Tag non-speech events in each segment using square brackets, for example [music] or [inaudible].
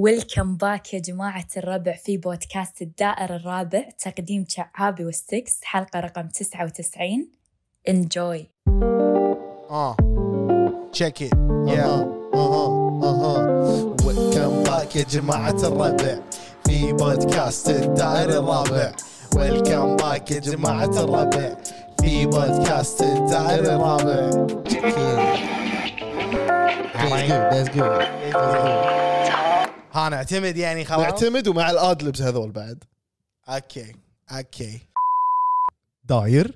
ويلكم باك يا جماعة الربع في بودكاست الدائر الرابع تقديم شعابي والسكس حلقة رقم 99 انجوي Uh, check it. Yeah. Uh-huh. Uh-huh. Welcome back يا جماعة الربع في بودكاست الدائر الرابع. Welcome back يا جماعة الربع في بودكاست الدائر الرابع. That's good. That's good. ها نعتمد يعني خلاص نعتمد ومع الادلبس هذول بعد اوكي اوكي داير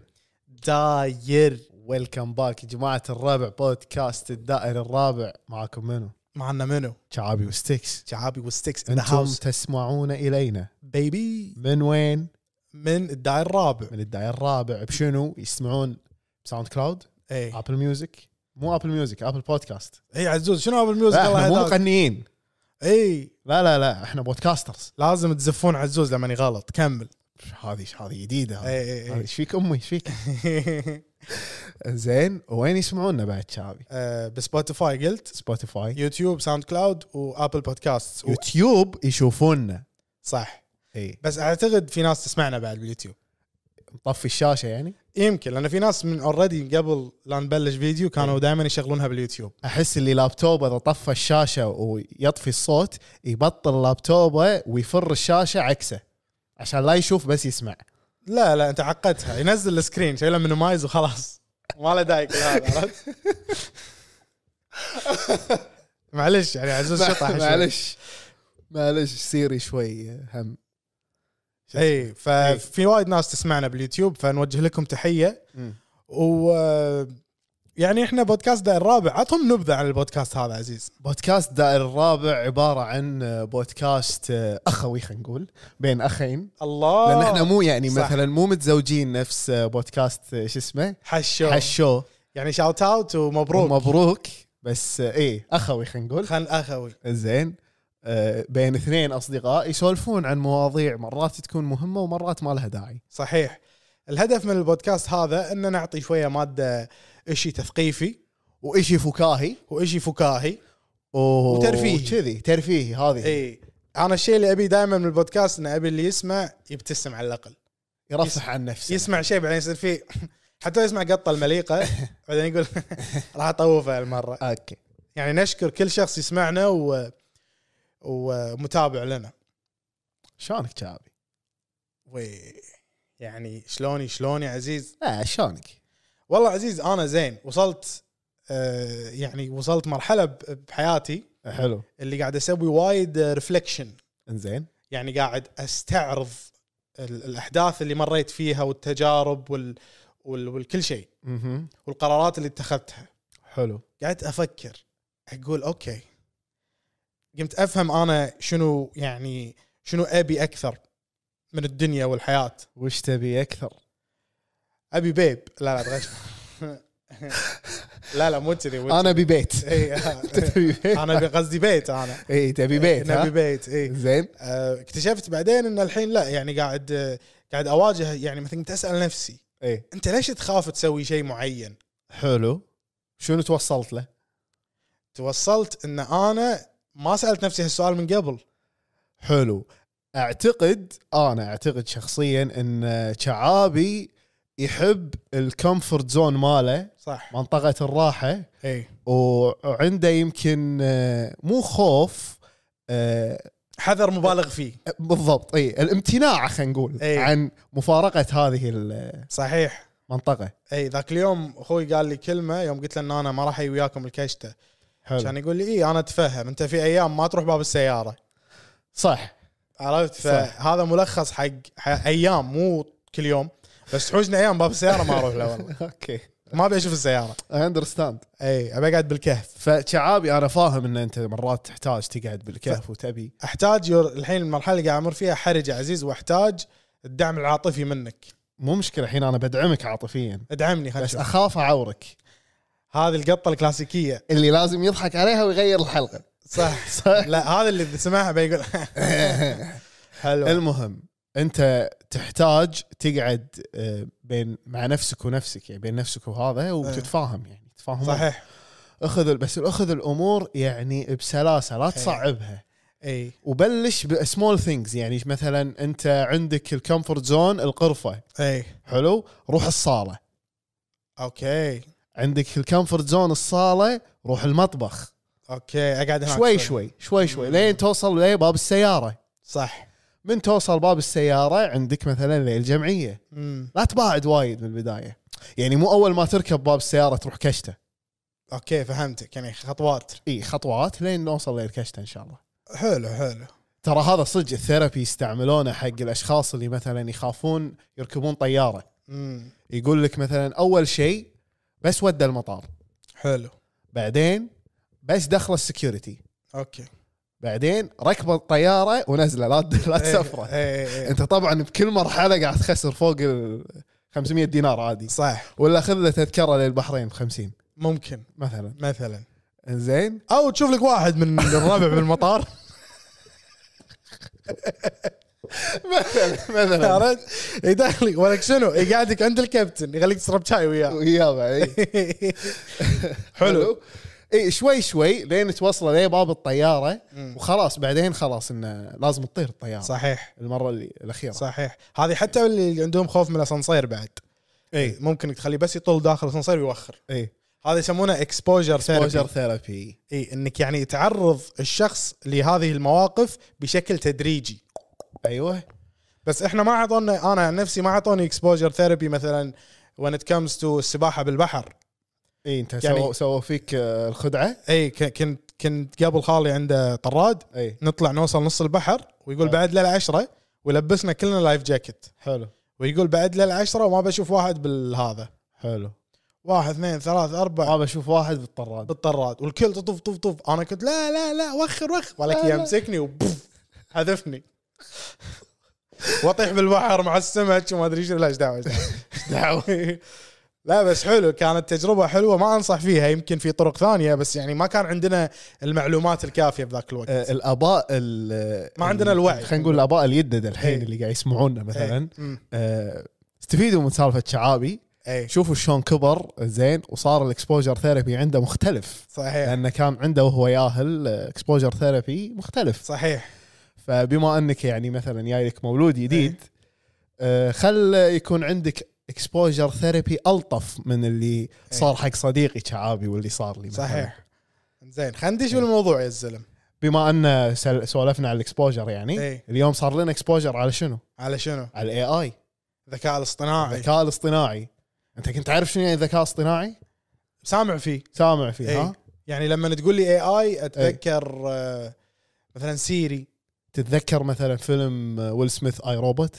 داير ويلكم باك يا جماعه الرابع بودكاست الدائر الرابع معاكم منو؟ معنا منو؟ شعابي وستكس شعابي والستكس ان ذا انتم هاوس تسمعون الينا بيبي من وين؟ من الدائر الرابع من الدائر الرابع بشنو؟ يسمعون ساوند كلاود اي ابل ميوزك مو ابل ميوزك ابل بودكاست اي إيه، عزوز شنو ابل ميوزك لا احنا مو الله يهداك مغنيين اي لا لا لا احنا بودكاسترز لازم تزفون عزوز لما غلط كمل هذه هذه جديده هذه. إي إي إي. هذه ايش فيك امي ايش [laughs] فيك؟ زين وين يسمعونا بعد شعبي؟ آه، بسبوتيفاي قلت سبوتيفاي يوتيوب ساوند كلاود وابل بودكاست يوتيوب يشوفونا صح اي بس اعتقد في ناس تسمعنا بعد باليوتيوب مطفي الشاشه يعني يمكن لان في ناس من اوريدي قبل لا نبلش فيديو كانوا دائما يشغلونها باليوتيوب احس اللي لابتوبه اذا طفى الشاشه ويطفي الصوت يبطل لابتوبه ويفر الشاشه عكسه عشان لا يشوف بس [laughs] يسمع لا لا انت عقدتها ينزل السكرين شايله مينيمايز وخلاص ما له داعي كل هذا عرفت؟ [laughs] معلش يعني عزوز شطح شوي. معلش معلش سيري شوي هم اي ففي إيه، وايد ناس تسمعنا باليوتيوب فنوجه لكم تحيه مم. و يعني احنا بودكاست ده الرابع عطهم نبذه عن البودكاست هذا عزيز بودكاست دائر الرابع عباره عن بودكاست اخوي خلينا نقول بين اخين الله لان احنا مو يعني صح. مثلا مو متزوجين نفس بودكاست شو اسمه حشو حش. حشو يعني شاوت اوت ومبروك مبروك بس ايه اخوي خلينا نقول خل اخوي زين آه، بين اثنين اصدقاء يسولفون عن مواضيع مرات تكون مهمه ومرات ما لها داعي صحيح الهدف من البودكاست هذا ان نعطي شويه ماده اشي تثقيفي وإشي فكاهي واشي فكاهي و- وترفيهي. كذي ترفيهي هذه اي انا الشيء اللي ابي دائما من البودكاست ان ابي اللي يسمع يبتسم على الاقل يرفح عن نفسه يسمع شيء بعدين يصير فيه [laughs] حتى يسمع قطه المليقه بعدين يقول [laughs] راح اطوفها هالمره اوكي يعني نشكر كل شخص يسمعنا و... ومتابع لنا شلونك شعبي؟ و... يعني شلوني شلون يا عزيز لا شلونك؟ والله عزيز انا زين وصلت آه يعني وصلت مرحله ب- بحياتي حلو اللي قاعد اسوي وايد ريفليكشن انزين يعني قاعد استعرض ال- الاحداث اللي مريت فيها والتجارب وال... وال... والكل شيء مهم. والقرارات اللي اتخذتها حلو قعدت افكر اقول اوكي قمت افهم انا شنو يعني شنو ابي اكثر من الدنيا والحياه وش تبي اكثر؟ ابي بيب لا لا تغش [laughs] لا لا مو كذي مو [laughs] انا ابي بيت كذي. إي، آه. تبي بيت؟ انا أبي- قصدي بيت انا اي تبي إيه، بيت نبي ها؟ بيت اي زين آه، اكتشفت بعدين ان الحين لا يعني قاعد آه، قاعد اواجه يعني مثلا كنت اسال نفسي اي انت ليش تخاف تسوي شيء معين؟ حلو شنو توصلت له؟ توصلت ان انا ما سالت نفسي هالسؤال من قبل حلو آه، اعتقد انا اعتقد شخصيا ان شعابي يحب الكومفورت زون ماله صح منطقه الراحه اي وعنده يمكن آه، مو خوف آه، حذر مبالغ فيه بالضبط اي الامتناع خلينا نقول إي. عن مفارقه هذه المنطقه صحيح اي ذاك اليوم اخوي قال لي كلمه يوم قلت له ان انا ما راح اي وياكم الكشته حلو كان يقول لي اي انا اتفهم انت في ايام ما تروح باب السياره صح عرفت صح. فهذا ملخص حق ح- ايام مو كل يوم بس تحوشني ايام باب السياره ما اروح له والله اوكي ما ابي اشوف السياره اندرستاند اي ابي اقعد بالكهف فشعابي انا فاهم ان انت مرات تحتاج تقعد بالكهف وتبي احتاج يور... الحين المرحله اللي قاعد امر فيها حرج يا عزيز واحتاج الدعم العاطفي منك مو مشكله الحين انا بدعمك عاطفيا ادعمني خلنا بس نشوف. اخاف اعورك هذه القطه الكلاسيكيه اللي لازم يضحك عليها ويغير الحلقه [laughs] صح صح لا هذا اللي سمعها بيقول [laughs] حلو المهم انت تحتاج تقعد آه، بين مع نفسك ونفسك يعني بين نفسك وهذا وتتفاهم يعني تفاهم إيه. صحيح إيه. اخذ بس اخذ الامور يعني بسلاسه لا تصعبها اي وبلش بسمول ثينجز يعني مثلا انت عندك الكمفورت زون الغرفه اي حلو روح الصاله اوكي عندك الكمفورت زون الصاله روح المطبخ اوكي اقعد هناك شوي شوي شوي شوي لين توصل لباب السياره صح من توصل باب السياره عندك مثلا للجمعيه امم لا تباعد وايد من البدايه يعني مو اول ما تركب باب السياره تروح كشته اوكي فهمتك يعني خطوات اي خطوات لين نوصل للكشته ان شاء الله حلو حلو ترى هذا صدق الثيرابي يستعملونه حق الاشخاص اللي مثلا يخافون يركبون طياره امم يقول لك مثلا اول شيء بس ودى المطار حلو بعدين بس دخل السكيورتي [laughs] اوكي بعدين ركب الطياره ونزله لا لا تسفره اي اي اي انت طبعا بكل مرحله قاعد تخسر فوق ال 500 دينار عادي صح ولا خذ له تذكره للبحرين ب 50 ممكن مثلا مثلا انزين او تشوف لك واحد من الربع [laughs] بالمطار مثلا مثلا [laughs] عرفت يدخلك ولك شنو يقعدك عند الكابتن يخليك تشرب [laughs] شاي وياه وياه بعدين. حلو اي شوي شوي لين توصل لباب الطياره مم. وخلاص بعدين خلاص انه لازم تطير الطياره صحيح المره اللي الاخيره صحيح هذه حتى اللي عندهم خوف من الاسانسير بعد اي ممكن تخليه بس يطل داخل الاسانسير ويوخر اي هذا يسمونه اكسبوجر بوجر ثيرابي ثيرابي اي انك يعني تعرض الشخص لهذه المواقف بشكل تدريجي ايوه بس احنا ما اعطونا انا عن نفسي ما اعطوني اكسبوجر ثيرابي مثلا وين ات كمز تو السباحه بالبحر اي انت يعني- يعني سووا سووا فيك آه، الخدعه اي إيه، ك- كنت كنت قبل خالي عنده طراد اي نطلع نوصل نص البحر ويقول آه. بعد ليله 10 ويلبسنا كلنا لايف جاكيت حلو ويقول بعد ليله 10 وما بشوف واحد بالهذا حلو واحد اثنين ثلاث اربع ما بشوف واحد بالطراد بالطراد والكل طف طف طف انا كنت لا لا لا وخر وخر ولك لا، لا. يمسكني وبوف هدفني واطيح بالبحر مع السمك وما ادري شنو لا ايش دعوه [laughs] إيش دعوة. دعوه [laughs] لا بس حلو كانت تجربه حلوه ما انصح فيها يمكن في طرق ثانيه بس يعني ما كان عندنا المعلومات الكافيه بذاك الوقت آه، الاباء ال- ما عندنا الوعي. خلينا نقول الاباء اليدد الحين إي. اللي قاعد يسمعونا مثلا إيه. أمم. آه، استفيدوا من سالفه شعابي اي شوفوا شلون كبر زين وصار الاكسبوجر ثيرابي عنده مختلف صحيح لانه كان عنده وهو ياهل اكسبوجر ثيرابي مختلف صحيح فبما انك يعني مثلا جايلك مولود جديد إيه. آه، خل يكون عندك اكسبوجر ثيرابي الطف من اللي صار حق صديقي شعابي واللي صار لي مثلاً. إيه. صحيح زين خلينا ندش إيه. بالموضوع يا الزلم بما ان سل- سولفنا على الاكسبوجر يعني إيه. اليوم صار لنا اكسبوجر على شنو؟ على شنو؟ على الاي اي الذكاء الاصطناعي الذكاء الاصطناعي انت كنت تعرف شنو يعني الذكاء الاصطناعي؟ سامع فيه سامع فيه إيه. ها؟ يعني لما تقول لي اي اي اتذكر آه، مثلا سيري تتذكر مثلا فيلم آه، ويل سميث اي روبوت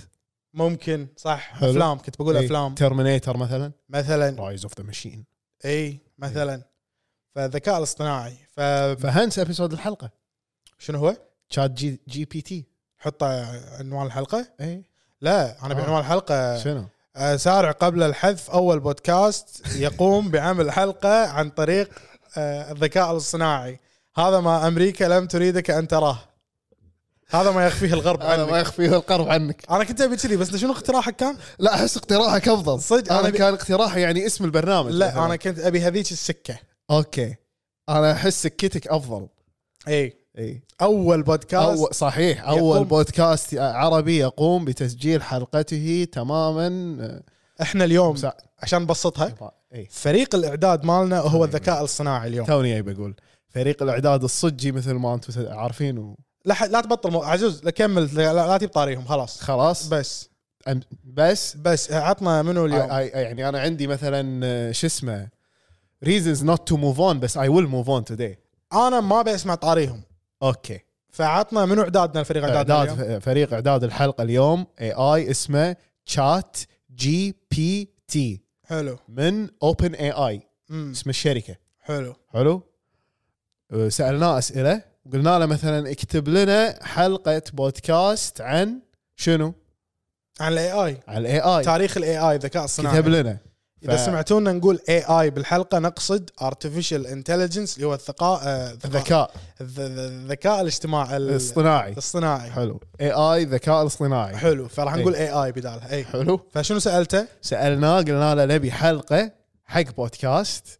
ممكن صح حلو. إيه. افلام كنت بقول افلام ترمينيتر مثلا مثلا رايز اوف ذا ماشين اي مثلا إيه، فالذكاء الاصطناعي فهنس ابيسود الحلقه فشنو هو؟ تشات جي جي بي تي حط عنوان الحلقه اي لا انا آه. بعنوان الحلقه إيه. شنو؟ آه، سارع قبل الحذف اول بودكاست يقوم بعمل حلقه عن طريق آه، الذكاء الاصطناعي هذا ما امريكا لم تريدك ان تراه هذا ما يخفيه الغرب هذا ما عنك يخفيه القرب عنك انا كنت ابي كذي بس شنو اقتراحك كان؟ لا احس اقتراحك افضل صدق، انا أنا بي- كان اقتراحي يعني اسم البرنامج لا مثلاً. انا كنت ابي هذيك السكه اوكي انا احس سكتك افضل اي اي اول بودكاست أول إيه. أول. صحيح اول يقوم- بودكاست عربي يقوم بتسجيل حلقته تماما احنا اليوم مساء. عشان نبسطها اي فريق الاعداد مالنا هو الذكاء الصناعي اليوم إيه. توني اي بقول فريق الاعداد الصجي مثل ما انتم عارفين و... لا ح- لا تبطل مو- عزوز لا كمل لا, لا تجيب طاريهم خلاص خلاص بس أم- بس بس عطنا منو I- اليوم I- يعني انا عندي مثلا آه، شو اسمه reasons not to move on بس I will move on today انا ما ابي اسمع طاريهم اوكي فعطنا منو اعدادنا الفريق اعدادنا اليوم؟ اعداد فريق اعداد الحلقه اليوم اي اي اسمه تشات جي بي تي حلو من اوبن اي اي امم اسم الشركه حلو حلو أه، سالناه اسئله قلنا له مثلا اكتب لنا حلقه بودكاست عن شنو؟ عن الاي اي عن الاي اي تاريخ الاي اي الذكاء الصناعي كتب لنا اذا ف- سمعتونا نقول اي اي بالحلقه نقصد ارتفيشال انتليجنس اللي هو الثقاء آه، الذكاء الذكاء الذ- الذكاء الاجتماعي ال- الاصطناعي الاصطناعي حلو اي اي ذكاء الاصطناعي حلو فراح نقول اي اي بدالها اي حلو فشنو سالته؟ سالناه قلنا له نبي حلقه حق بودكاست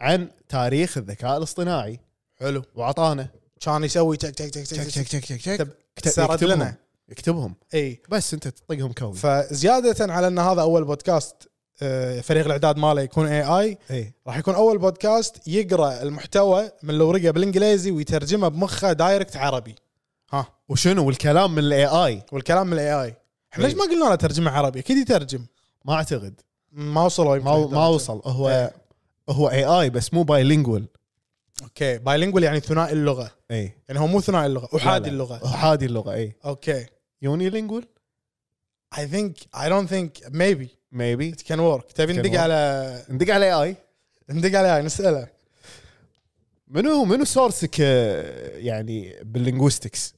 عن تاريخ الذكاء الاصطناعي حلو واعطانا كان يسوي تك تك تك تشك تك تشك تك تشك تشك تشك تب- سرد يكتبهم. لنا. يكتبهم اي بس انت تطقهم كوي فزياده على ان هذا اول بودكاست آه، فريق الاعداد ماله يكون اي اي اي راح يكون اول بودكاست يقرا المحتوى من الورقه بالانجليزي ويترجمه بمخه دايركت عربي ها وشنو والكلام من الاي اي والكلام من الاي اي احنا إيه. ليش ما قلنا له ترجمه عربي اكيد يترجم ما اعتقد ما وصلوا يمكن ما ما للدرجة. وصل هو إيه. هو اي اي بس مو بايلينجوال اوكي بايلينجوال يعني ثنائي اللغه اي يعني هو مو ثنائي اللغه لا احادي إيه. لا. اللغه احادي اللغه اي اوكي يوني لينجوال اي ثينك اي دونت ثينك ميبي ميبي ات كان ورك تبي It can ندق work. على ندق على اي اي ندق يعني عليها نساله منو منو سورسك آه، يعني باللينغويستكس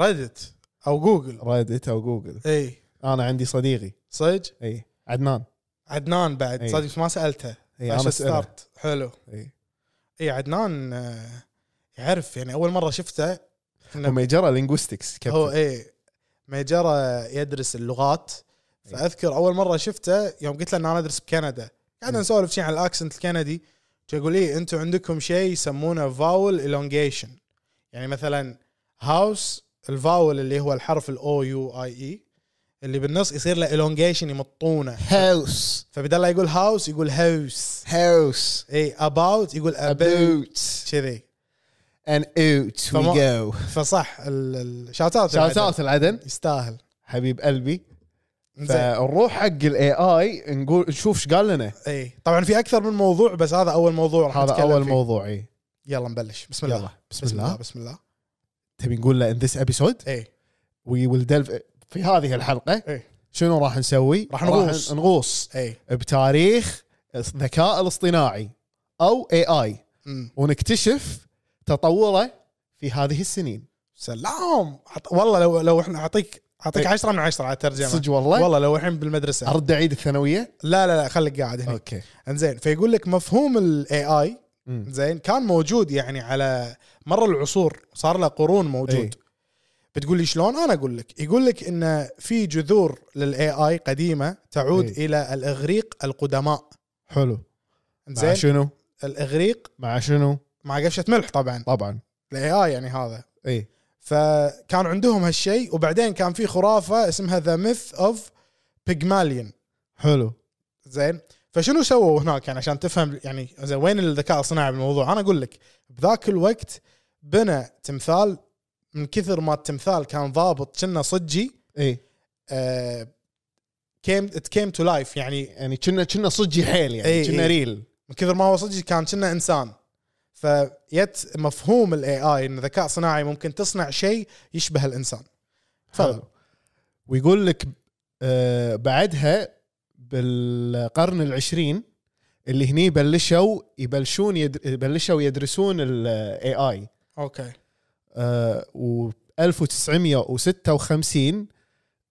ريدت او جوجل ريدت او جوجل اي انا عندي صديقي إيه، صدق اي عدنان عدنان بعد إي. صدق بس ما سالته اي عشان انا اساله ستارت. حلو إي. اي إيه، عدنان آه، يعرف يعني اول مره شفته هو ميجرا لينغويستكس كابتن. هو اي ميجرا يدرس اللغات إي. فاذكر اول مره شفته يوم قلت له ان انا ادرس بكندا قعدنا إي. نسولف شيء عن الاكسنت الكندي يقول لي انتم عندكم شيء يسمونه فاول elongation يعني مثلا هاوس الفاول اللي هو الحرف الاو يو اي اي E، اللي بالنص يصير له elongation يمطونه هاوس فبدل لا يقول هاوس يقول هاوس هاوس اي اباوت يقول ابوت ابوت كذي ان اوت فما- جو فصح الشوت اوت شاوت اوت العدن يستاهل حبيب قلبي زين فنروح حق الاي اي نقول نشوف ايش قال لنا اي طبعا إيه. في اكثر من موضوع بس هذا اول موضوع راح هذا نتكلم اول فيه. موضوع اي يلا نبلش بسم الله يلا بسم الله بسم الله إيه. تبي نقول له ان ذيس ابيسود اي وي ويل دلف في هذه الحلقه إيه. شنو راح نسوي؟ راح نغوص. نغوص اي بتاريخ الذكاء الاصطناعي او اي اي أمم. ونكتشف تطوره في هذه السنين سلام عط- والله لو لو احنا اعطيك اعطيك إي. 10 من 10 على الترجمه إيه. صدق والله والله لو الحين بالمدرسه ارد اعيد الثانويه لا لا لا خليك قاعد هنا اوكي انزين فيقول لك مفهوم الاي اي أمم. زين كان موجود يعني على مر العصور صار له قرون موجود إي. بتقول لي شلون انا اقول لك يقول لك ان في جذور للاي اي قديمه تعود إي. الى الاغريق القدماء حلو مع زين شنو؟ الاغريق مع شنو؟ مع قشه ملح طبعا طبعا الاي اي يعني هذا اي فكان عندهم هالشيء وبعدين كان في خرافه اسمها ذا ميث اوف بيجماليون حلو زين فشنو سووا هناك يعني عشان تفهم يعني زين وين الذكاء الصناعي بالموضوع انا اقول لك بذاك الوقت بنى تمثال من كثر ما التمثال كان ضابط كنا صجي اي آه كيم ات كيم تو لايف يعني يعني كنا كنا صجي حيل يعني إي، كنا إي. ريل من كثر ما هو صجي كان كنا انسان فيت مفهوم الاي اي ان الذكاء الصناعي ممكن تصنع شيء يشبه الانسان تفضل حلو ويقول لك آه بعدها بالقرن العشرين اللي هني بلشوا يبلشون يدر... بلشوا يدرسون الاي اي اوكي و 1956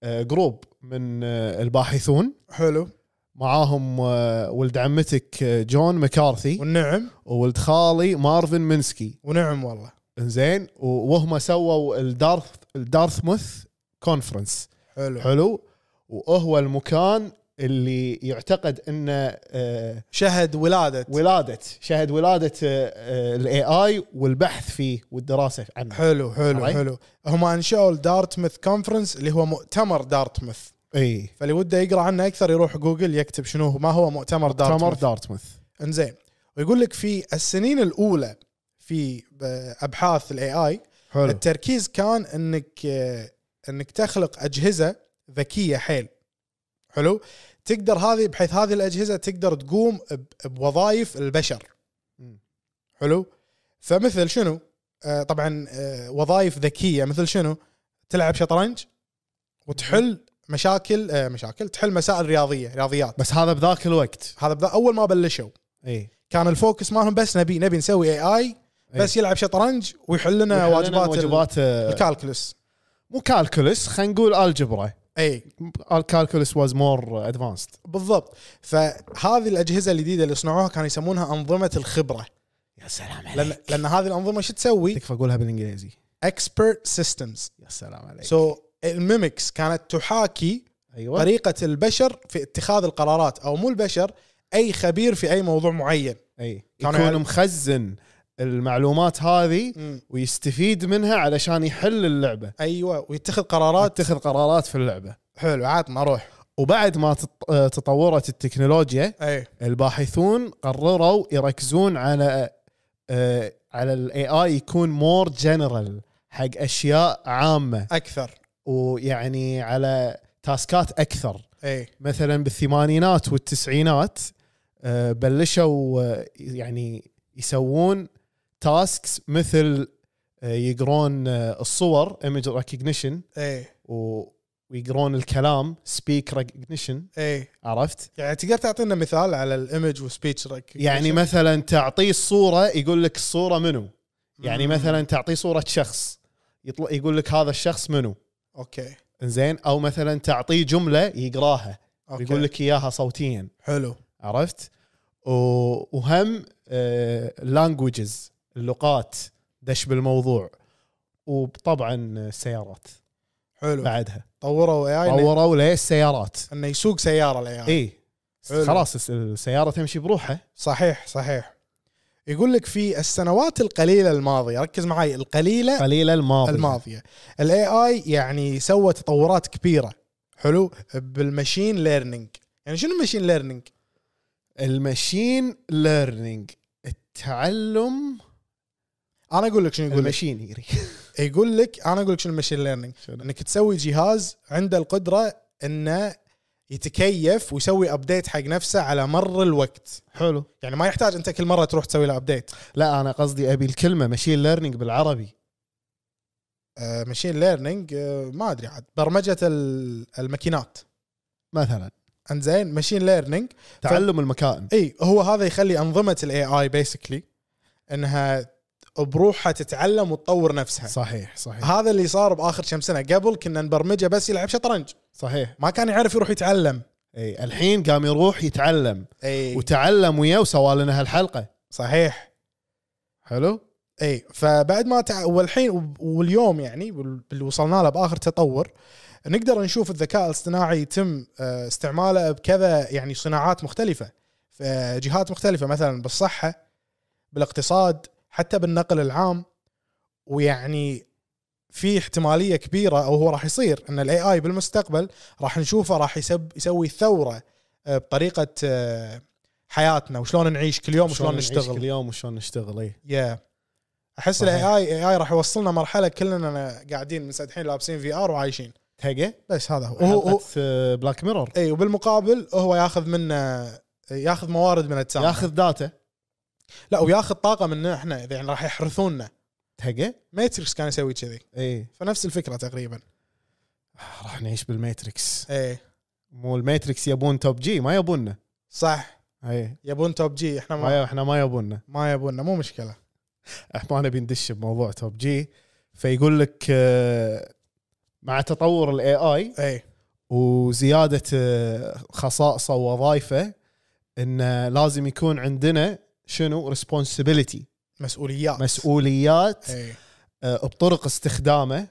آه جروب من آه الباحثون حلو معاهم آه ولد عمتك آه، جون مكارثي والنعم وولد خالي مارفن منسكي ونعم والله زين وهم سووا الدارث الدارثموث كونفرنس حلو, حلو. حلو وهو المكان اللي يعتقد انه آه، شهد ولاده ولاده شهد آه، ولاده الاي اي والبحث فيه والدراسه عنه حلو حلو عرفت؟ حلو هم انشأوا الدارتموث كونفرنس اللي هو مؤتمر دارتموث اي فاللي وده يقرا عنه اكثر يروح جوجل يكتب شنو هو- ما هو مؤتمر دارتموث تمر دارتموث انزين ويقول لك في السنين الاولى في آه، ابحاث الاي اي حلو التركيز كان انك آه، انك تخلق اجهزه ذكيه حيل حلو تقدر هذه بحيث هذه الاجهزه تقدر تقوم ب- بوظائف البشر مم. حلو فمثل شنو آه، طبعا آه، وظائف ذكيه مثل شنو تلعب شطرنج وتحل مشاكل آه، مشاكل تحل مسائل رياضيه رياضيات بس هذا بذاك الوقت هذا بدأ اول ما بلشوا اي كان الفوكس مالهم بس نبي نبي نسوي اي اي بس يلعب شطرنج ويحل لنا واجبات ال- إيه. واجبات آه، الكالكولس مو كالكولس خلينا نقول الجبرا اي الكالكولس واز مور ادفانسد بالضبط فهذه الاجهزه الجديده اللي صنعوها كانوا يسمونها انظمه الخبره يا سلام لان لان هذه الانظمه شو تسوي؟ تكفى اقولها بالانجليزي اكسبرت سيستمز يا سلام عليك سو الميمكس كانت تحاكي ايوه طريقه البشر في اتخاذ القرارات او مو البشر اي خبير في اي موضوع معين اي كانوا يكون يعرف- مخزن المعلومات هذه مم. ويستفيد منها علشان يحل اللعبه ايوه ويتخذ قرارات اتخذ قرارات في اللعبه حلو عاطنا روح وبعد ما تط- آه، تطورت التكنولوجيا اي الباحثون قرروا يركزون على آه، على الاي اي يكون مور جنرال حق اشياء عامه اكثر ويعني على تاسكات اكثر اي مثلا بالثمانينات والتسعينات آه، بلشوا آه، يعني يسوون تاسكس مثل آه، يقرون آه، الصور ايمج ريكوجنيشن اي ويقرون الكلام سبيك ريكوجنيشن اي عرفت؟ يعني تقدر تعطينا مثال على الايمج والسبيتش يعني مثلا تعطيه الصوره يقول لك الصوره منو؟ يعني مثلا تعطيه صوره شخص يطلع يقول لك هذا الشخص منو؟ اوكي زين او مثلا تعطيه جمله يقراها اوكي يقول لك اياها صوتيا حلو عرفت؟ و- وهم لانجوجز اللغات دش بالموضوع وطبعا السيارات حلو بعدها طوروا اي اي طوروا ليه السيارات انه يسوق سياره الاي اي اي آه. حلو. خلاص الس- السياره تمشي بروحها صحيح صحيح يقول لك في السنوات القليله الماضيه ركز معي القليله قليله الماضي الماضيه الاي اي يعني سوى تطورات كبيره حلو بالماشين ليرنينج يعني شنو الماشين ليرنينج المشين ليرنينج التعلم انا اقول لك شنو يقول لك المشين يري يقول لك انا اقول لك شنو الماشين ليرنينج انك تسوي جهاز عنده القدره انه يتكيف ويسوي ابديت حق نفسه على مر الوقت حلو يعني ما يحتاج انت كل مره تروح تسوي له ابديت لا انا قصدي ابي الكلمه مشين ليرنينج بالعربي ماشين ليرنينج آه، ما ادري عاد برمجه ال- الماكينات مثلا انزين ماشين ليرنينج تعلم المكائن اي هو هذا يخلي انظمه الاي اي بيسكلي انها بروحها تتعلم وتطور نفسها صحيح صحيح هذا اللي صار باخر كم سنه قبل كنا نبرمجه بس يلعب شطرنج صحيح ما كان يعرف يروح يتعلم اي الحين قام يروح يتعلم اي وتعلم وياه وسوى لنا هالحلقه إيه. صحيح حلو اي إيه، فبعد ما تع... والحين وب- واليوم يعني بال- اللي وصلنا له باخر تطور نقدر نشوف الذكاء الاصطناعي يتم آه، استعماله بكذا يعني صناعات مختلفه في جهات مختلفه مثلا بالصحه بالاقتصاد حتى بالنقل العام ويعني في احتماليه كبيره او هو راح يصير ان الاي اي بالمستقبل راح نشوفه راح يسب يسوي ثوره آه، بطريقه آه، حياتنا وشلون نعيش كل يوم وشلون نعيش نشتغل كل يوم وشلون نشتغل إيه. اي يا احس صحيح. الاي اي اي اي راح يوصلنا مرحله كلنا قاعدين منسدحين لابسين في ار وعايشين تقى بس هذا هو هو, هو حلقه بلاك ميرور اي وبالمقابل هو ياخذ منا ياخذ موارد من التسامح ياخذ داتا لا وياخذ طاقه منا احنا يعني راح يحرثونا تقى ماتريكس كان يسوي كذي اي فنفس الفكره تقريبا إيه. آه، راح نعيش بالماتريكس اي مو الماتريكس يبون توب جي ما يبوننا صح اي يبون توب جي احنا ما, ما احنا ما يبوننا ما يبوننا مو مشكله احنا نبي ندش بموضوع توب جي فيقول لك آه، مع تطور الاي اي اي وزياده آه، خصائصه ووظائفه انه لازم يكون عندنا شنو ريسبونسبيلتي مسؤوليات إيه. مسؤوليات اي آه، بطرق استخدامه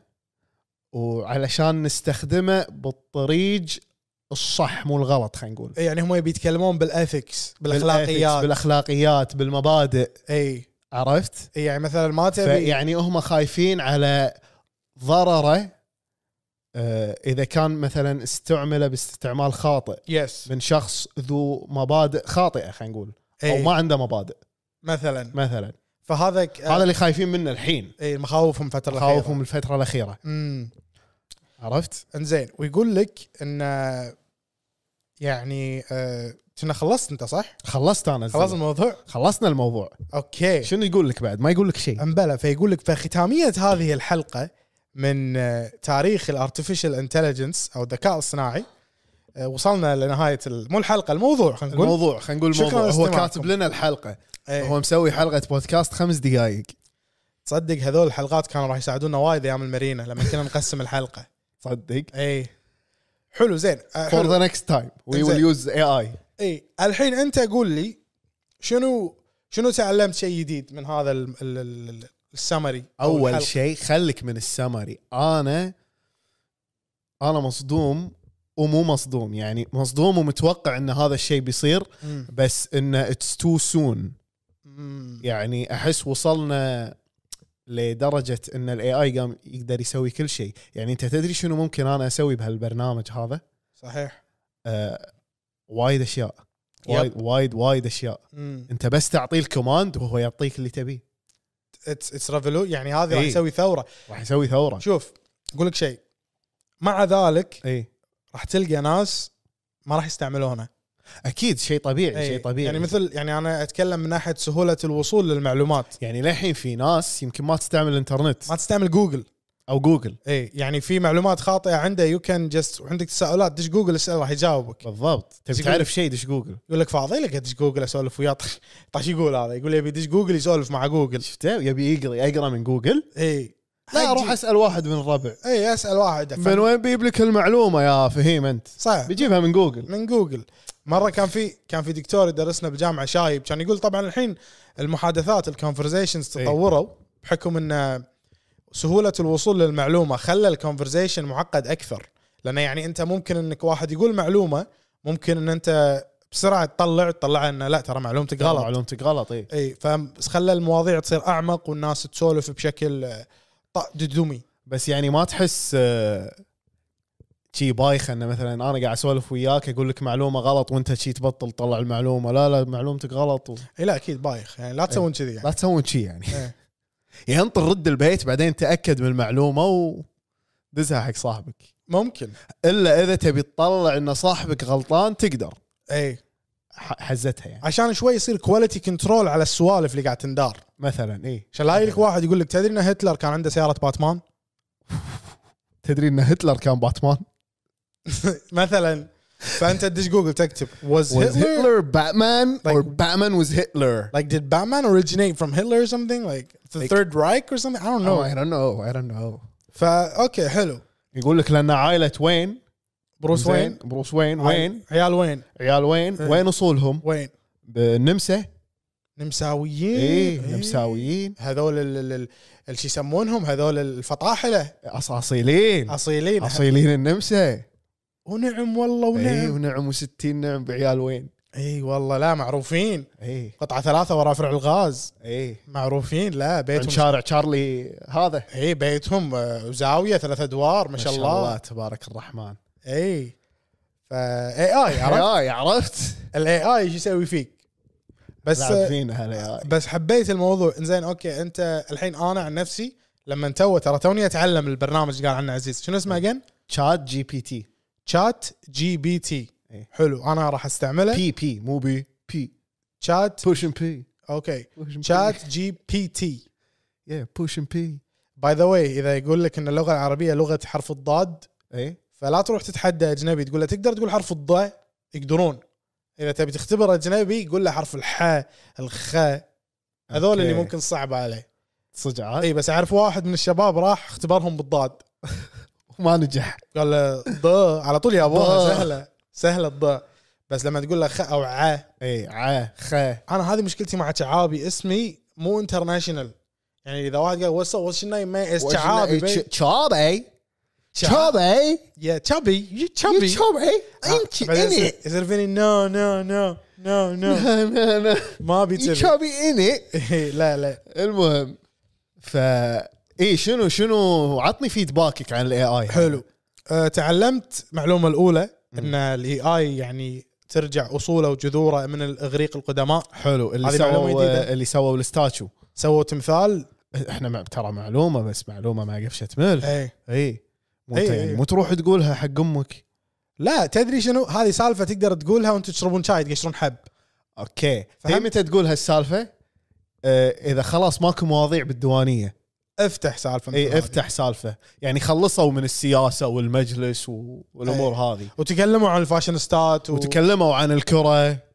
وعلشان نستخدمه بالطريق الصح مو الغلط خلينا نقول يعني هم يبي يتكلمون بالاثكس بالاخلاقيات بالاخلاقيات بالمبادئ اي عرفت؟ إي، إيه. يعني مثلا ما تبي فيعني هم خايفين على ضرره آه، اذا كان مثلا استعمل باستعمال خاطئ يس من شخص ذو مبادئ خاطئه خلينا نقول او إي، ما عنده مبادئ مثلا مثلا فهذا ك... هذا اللي خايفين منه الحين اي إيه، مخاوفهم فتره الأخيرة. خوفهم الفتره الاخيره امم عرفت؟ انزين ويقول لك ان آه، يعني آه، كنا خلصت انت صح؟ خلصت انا خلص خلصنا الموضوع؟ خلصنا الموضوع اوكي شنو يقول لك بعد ما يقول لك شيء امبلا فيقول لك فختاميه هذه الحلقه من آه، تاريخ الارتفيشال انتليجنس او الذكاء الصناعي آه، وصلنا لنهايه ال- مو الحلقه الموضوع خلينا نقول الموضوع خلينا نقول شكراً الموضوع هو لاستماعكم. كاتب لنا الحلقه إيه. هو مسوي حلقه بودكاست خمس دقائق تصدق هذول الحلقات كانوا راح يساعدونا وايد ايام المارينا لما كنا نقسم الحلقه صدق اي حلو زين آه، فور حلو. ذا نكست تايم وي ويل إنزين. يوز اي اي اي الحين انت قول لي شنو شنو تعلمت شيء جديد من هذا ال- ال- ال- السمري أو اول الحلقة؟ شيء خليك من السمري انا انا مصدوم ومو مصدوم يعني مصدوم ومتوقع ان هذا الشيء بيصير مم. بس انه اتس تو سون مم. يعني احس وصلنا لدرجه ان الاي اي قام يقدر يسوي كل شيء يعني انت تدري شنو ممكن انا اسوي بهالبرنامج هذا صحيح آه وايد اشياء يب. وايد وايد وايد اشياء مم. انت بس تعطيه الكوماند وهو يعطيك اللي تبيه اتس اتس ريفولو يعني هذه راح إيه. يسوي ثوره راح يسوي ثوره شوف اقول لك شيء مع ذلك اي راح تلقى ناس ما راح يستعملونها اكيد شيء طبيعي إيه. شيء طبيعي يعني مثل يعني انا اتكلم من ناحيه سهوله الوصول للمعلومات يعني للحين في ناس يمكن ما تستعمل الانترنت ما تستعمل جوجل او جوجل اي يعني في معلومات خاطئه عنده يو كان جست وعندك تساؤلات دش جوجل اسال راح يجاوبك بالضبط تبي يقول- تعرف شيء دش جوجل يقول لك فاضي لك ادش جوجل اسولف وياه طش طش يقول هذا يقول يبي يدش جوجل يسولف مع جوجل إيه. شفته يبي يقرا يقرا من جوجل اي لا اروح اسال واحد من الربع اي اسال إيه، واحد من وين بيجيب لك المعلومه يا فهيم انت صح بيجيبها من جوجل من جوجل مره كان في كان في دكتور يدرسنا بجامعه شايب كان يقول طبعا الحين المحادثات الكونفرزيشنز إيه. تطوروا بحكم ان سهوله الوصول للمعلومه خلى الكونفرزيشن معقد اكثر لانه يعني انت ممكن انك واحد يقول معلومه ممكن ان انت بسرعه تطلع تطلع انه لا ترى معلومتك غلط معلومتك غلط إيه. اي اي فخلى المواضيع تصير اعمق والناس تسولف بشكل آه، ط- ددومي بس يعني ما تحس آه، شي بايخه انه مثلا انا قاعد اسولف وياك اقول لك معلومه غلط وانت شي تبطل تطلع المعلومه لا لا معلومتك غلط و... اي لا اكيد بايخ يعني لا تسوون كذي يعني لا تسوون شي يعني [laughs] إيه. يعني انطر رد البيت بعدين تاكد من المعلومه ودزها حق صاحبك ممكن الا اذا تبي تطلع ان صاحبك غلطان تقدر اي ح- حزتها يعني عشان شوي يصير كواليتي كنترول على السوالف اللي قاعد تندار مثلا اي عشان لا يجيك واحد يقول لك تدري ان هتلر كان عنده سياره باتمان تدري ان هتلر كان باتمان مثلا فانت تدش جوجل تكتب was was Hitler Hitler Batman or Batman was Hitler like did Batman originate from Hitler or something like the Like- Third Reich or something I don't no know Oh, I don't know I don't know فا اوكي حلو يقول لك لان عائله وين بروس زين؟ وين بروس وين وين عيال وين عيال وين إيه. وين اصولهم وين بالنمسا نمساويين اي إيه. نمساويين هذول ال- ال- ال- ال- شو يسمونهم هذول الفطاحله اصاصيلين اصيلين اصيلين النمسا ونعم والله اي ونعم ونعم وستين نعم بعيال وين إيه، اي والله لا معروفين اي قطعه ثلاثه ورا فرع الغاز اي معروفين لا من بيتهم شارع تشارلي إيه. هذا ما اي بيتهم آه، زاويه ثلاث ادوار ما شاء الله إيه. تبارك الرحمن اي فا اي اي إيه، عرفت اي عرفت الاي اي ايش يسوي فيك بس آه، لعب فينا هلا بس حبيت الموضوع انزين اوكي انت الحين انا عن نفسي لما تو ترى توني اتعلم البرنامج اللي قال عنه عزيز شنو اسمه اجين؟ شات جي بي تي شات جي بي تي إيه. حلو انا راح استعمله بي بي مو بي بي شات بوش اند بي اوكي شات جي بي تي يا بوش اند بي باي ذا واي اذا يقول لك ان اللغه العربيه لغه حرف الضاد اي فلا تروح تتحدى اجنبي تقول له تقدر تقول حرف الض يقدرون اذا تبي تختبر اجنبي قول له حرف الح الخ هذول اللي أوكي. ممكن صعب عليه صدق عاد اي بس اعرف واحد من الشباب راح اختبرهم بالضاد ما نجح قال له ض على طول يا ابوها ض. سهله سهله الض بس لما تقول له خ او ع اي ع إيه، خ انا هذه مشكلتي مع شعابي اسمي مو انترناشونال يعني اذا واحد قال وصل وشناي ما اس شعابي بي- شعبي شعاب- شعبي يا شعبي يا شعبي شعبي آه، Ah, بعدين يصير- يصير فيني نو نو نو نو [laughs] نو انا ما ابي كذي [laughs] شعبي اني إيه، لا لا المهم ف اي شنو شنو عطني فيدباكك عن الاي اي حلو أه تعلمت معلومه الاولى ان الاي اي يعني ترجع اصوله وجذوره من الاغريق القدماء حلو اللي هذه معلومة سووا جديدة. اللي سووا الستاتشو سووا [laughs] تمثال احنا مع... ترى معلومه بس معلومه ما قفشت ملح اي اي مو إي، انت إي. يعني مو تروح تقولها حق امك لا تدري شنو هذه سالفه تقدر تقولها وانتم تشربون شاي تقشرون حب اوكي فهمت؟ فهمت متى تقول هالسالفه آه، اذا خلاص ماكو مواضيع بالديوانيه افتح سالفه مثل اي هذه. إيه، افتح سالفه يعني خلصوا من السياسه والمجلس و- والامور هذه وتكلموا عن الفاشينستات و... وتكلموا عن الكره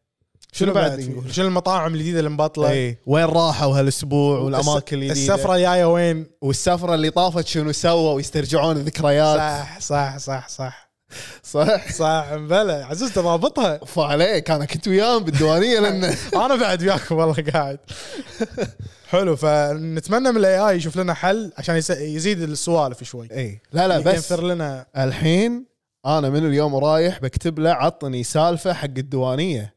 شنو بعد إيه. في- نقول شنو المطاعم الجديده اللي مبطله اي وين راحوا هالاسبوع والاماكن الس- الجديده السفره الجايه وين والسفره اللي طافت شنو سووا يسترجعون الذكريات صح صح صح صح صح صح مبلى عزوز تضابطها فعليك انا كنت وياهم بالديوانيه لان انا بعد وياكم والله قاعد حلو فنتمنى من الاي اي يشوف لنا حل عشان يس- يزيد السوالف شوي اي لا إيه، لا بس يكثر لنا الحين انا من اليوم ورايح بكتب له عطني سالفه حق الديوانيه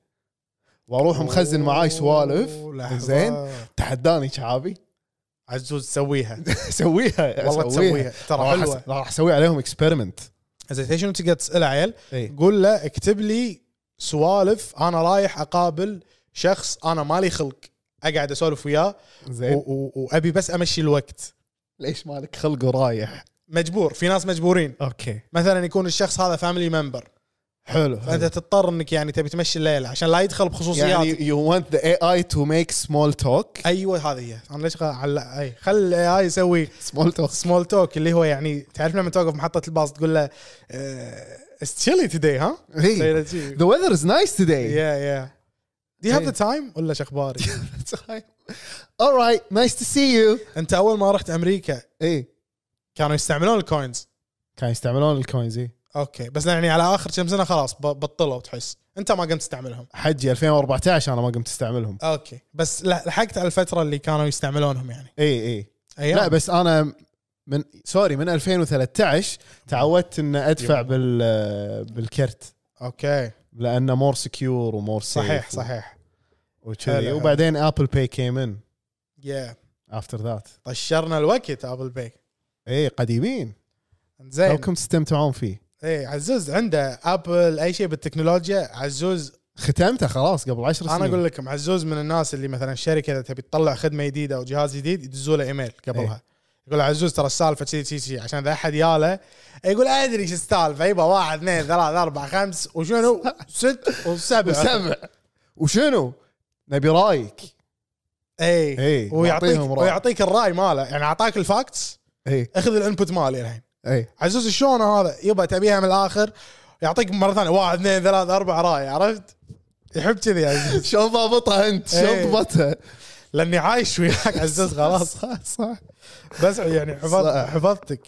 واروح مخزن معاي سوالف أوه، لحظة. زين. تحداني شعابي [laughs] عزوز سويها [laughs] سويها والله تسويها ترى راح حلوه أس- راح اسوي عليهم اكسبيرمنت زين شنو تقدر تسال عيل اي قول له اكتب لي سوالف انا رايح اقابل شخص انا مالي خلق اقعد اسولف وياه و- زين و- وابي بس امشي الوقت ليش مالك خلق ورايح مجبور في ناس مجبورين اوكي مثلا يكون الشخص هذا فاميلي ممبر حلو فانت تضطر انك يعني تبي تمشي الليله عشان لا يدخل بخصوصيات يعني يعني... you want the AI to make small talk ايوه هذه هي انا ليش غ- على اي خل الاي يسوي small talk سمول توك اللي هو يعني تعرف لما توقف محطه الباص تقول له "آه، ستشيلي توداي [laughs] ها؟ hey, إيه. the weather is nice today يا يا دي هاف ذا إيه. تايم ولا [laughs] شو اخباري؟ all right nice to see you انت اول ما رحت امريكا اي كانوا يستعملون الكوينز كانوا يستعملون إيه. الكوينز اي اوكي بس يعني على اخر كم سنه خلاص ب- بطلوا تحس انت ما قمت تستعملهم حجي 2014 انا ما قمت استعملهم اوكي بس ل- لحقت على الفتره اللي كانوا يستعملونهم يعني اي اي ايام إيه، لا بس انا من سوري من 2013 تعودت ان ادفع بال بالكرت اوكي لانه مور سكيور ومور صحيح صحيح وكذي حلو. وبعدين ابل باي كيم ان يا افتر ذات طشرنا الوقت ابل باي اي إيه، قديمين زين لوكم تستمتعون فيه اي إيه، عزوز عنده ابل اي شيء بالتكنولوجيا عزوز ختمته خلاص قبل 10 سنين انا اقول لكم عزوز من الناس اللي مثلا الشركه اذا تبي تطلع خدمه جديده او جهاز جديد يدزوا له ايميل قبلها يقول له عزوز ترى السالفه كذي كذي كذي عشان اذا احد ياله يقول ادري شو السالفه يبا واحد اثنين ثلاث اربع خمس وشنو ست [laughs] وسبع وسبع وشنو؟ نبي رايك اي إي، إيه. ويعطيك معطيهم رأي. ويعطيك الراي ماله يعني اعطاك الفاكتس اي اخذ الانبوت مالي الحين اي عزوز شلون هذا يبا تبيها من الاخر يعطيك مره ثانيه واحد اثنين ثلاث اربع راي عرفت؟ يحب كذي عزوز شلون ضابطها انت؟ إيه. شلون ضبطها؟ لاني عايش وياك عزوز خلاص [laughs] صح صح بس يعني حفظت صح. حفظتك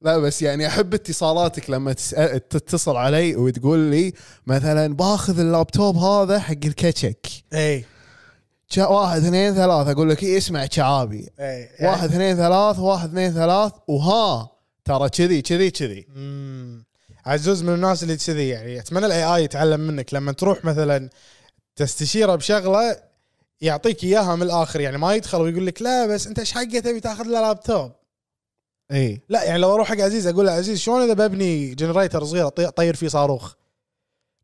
لا بس يعني احب اتصالاتك لما تسأل تتصل علي وتقول لي مثلا باخذ اللابتوب هذا حق الكتشك اي شا- واحد اثنين ثلاث اقول لك إيه اسمع شعابي اي يعني- واحد اثنين ثلاث واحد اثنين ثلاث وها ترى كذي كذي كذي مم. عزوز من الناس اللي كذي يعني اتمنى الاي اي يتعلم منك لما تروح مثلا تستشيره بشغله يعطيك اياها من الاخر يعني ما يدخل ويقول لك لا بس انت ايش حقه تبي تاخذ له لابتوب اي لا يعني لو اروح حق عزيز اقول له عزيز شلون اذا ببني جنريتر صغير أطي- اطير فيه صاروخ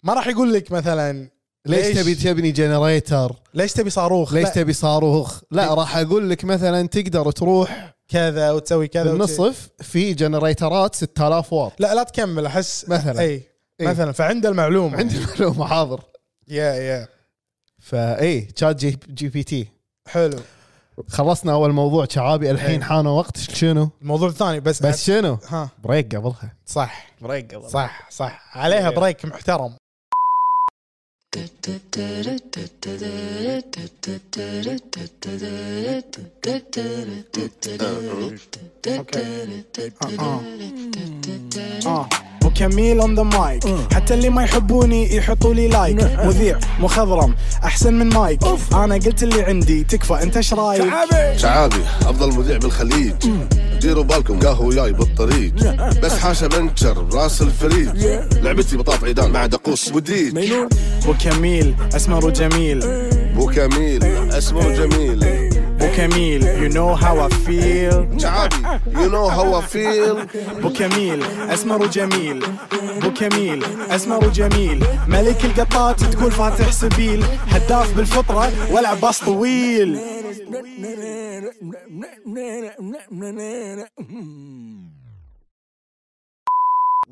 ما راح يقول لك مثلا ليش ليش؟ تبي تبني جنريتر؟ ليش تبي صاروخ ليش لا، تبي صاروخ؟ لا راح اقول لك مثلا تقدر تروح كذا وتسوي كذا وتسوي- بالنصف في جنريترات 6000 واط لا لا تكمل إيه، احس مثلاً. اي إي. مثلا فعنده المعلومه عندي [laughs] معلومه حاضر إيه، يا يا فاي تشات جي, جي بي تي حلو خلصنا اول موضوع شعابي الحين إيه. حان وقت شنو؟ الموضوع الثاني بس بس شنو؟ ها بريك قبلها صح بريك قبلها صح صح عليها إيه. بريك محترم آه. وكميل اون ذا مايك حتى اللي ما يحبوني يحطوا لي لايك مذيع مخضرم احسن من مايك انا قلت اللي عندي تكفى انت ايش رايك شعابي افضل مذيع بالخليج ديروا بالكم قهوه وياي بالطريق بس حاشا بنكر براس الفريج لعبتي بطاط عيدان مع دقوس وديج وكميل اسمر وجميل بو كميل اسمه جميل وكميل you know how I feel شعابي يو نو هاو فيل بو كميل اسمر وجميل بو كميل اسمر وجميل ملك القطات تقول فاتح سبيل هداف بالفطره والعب باص طويل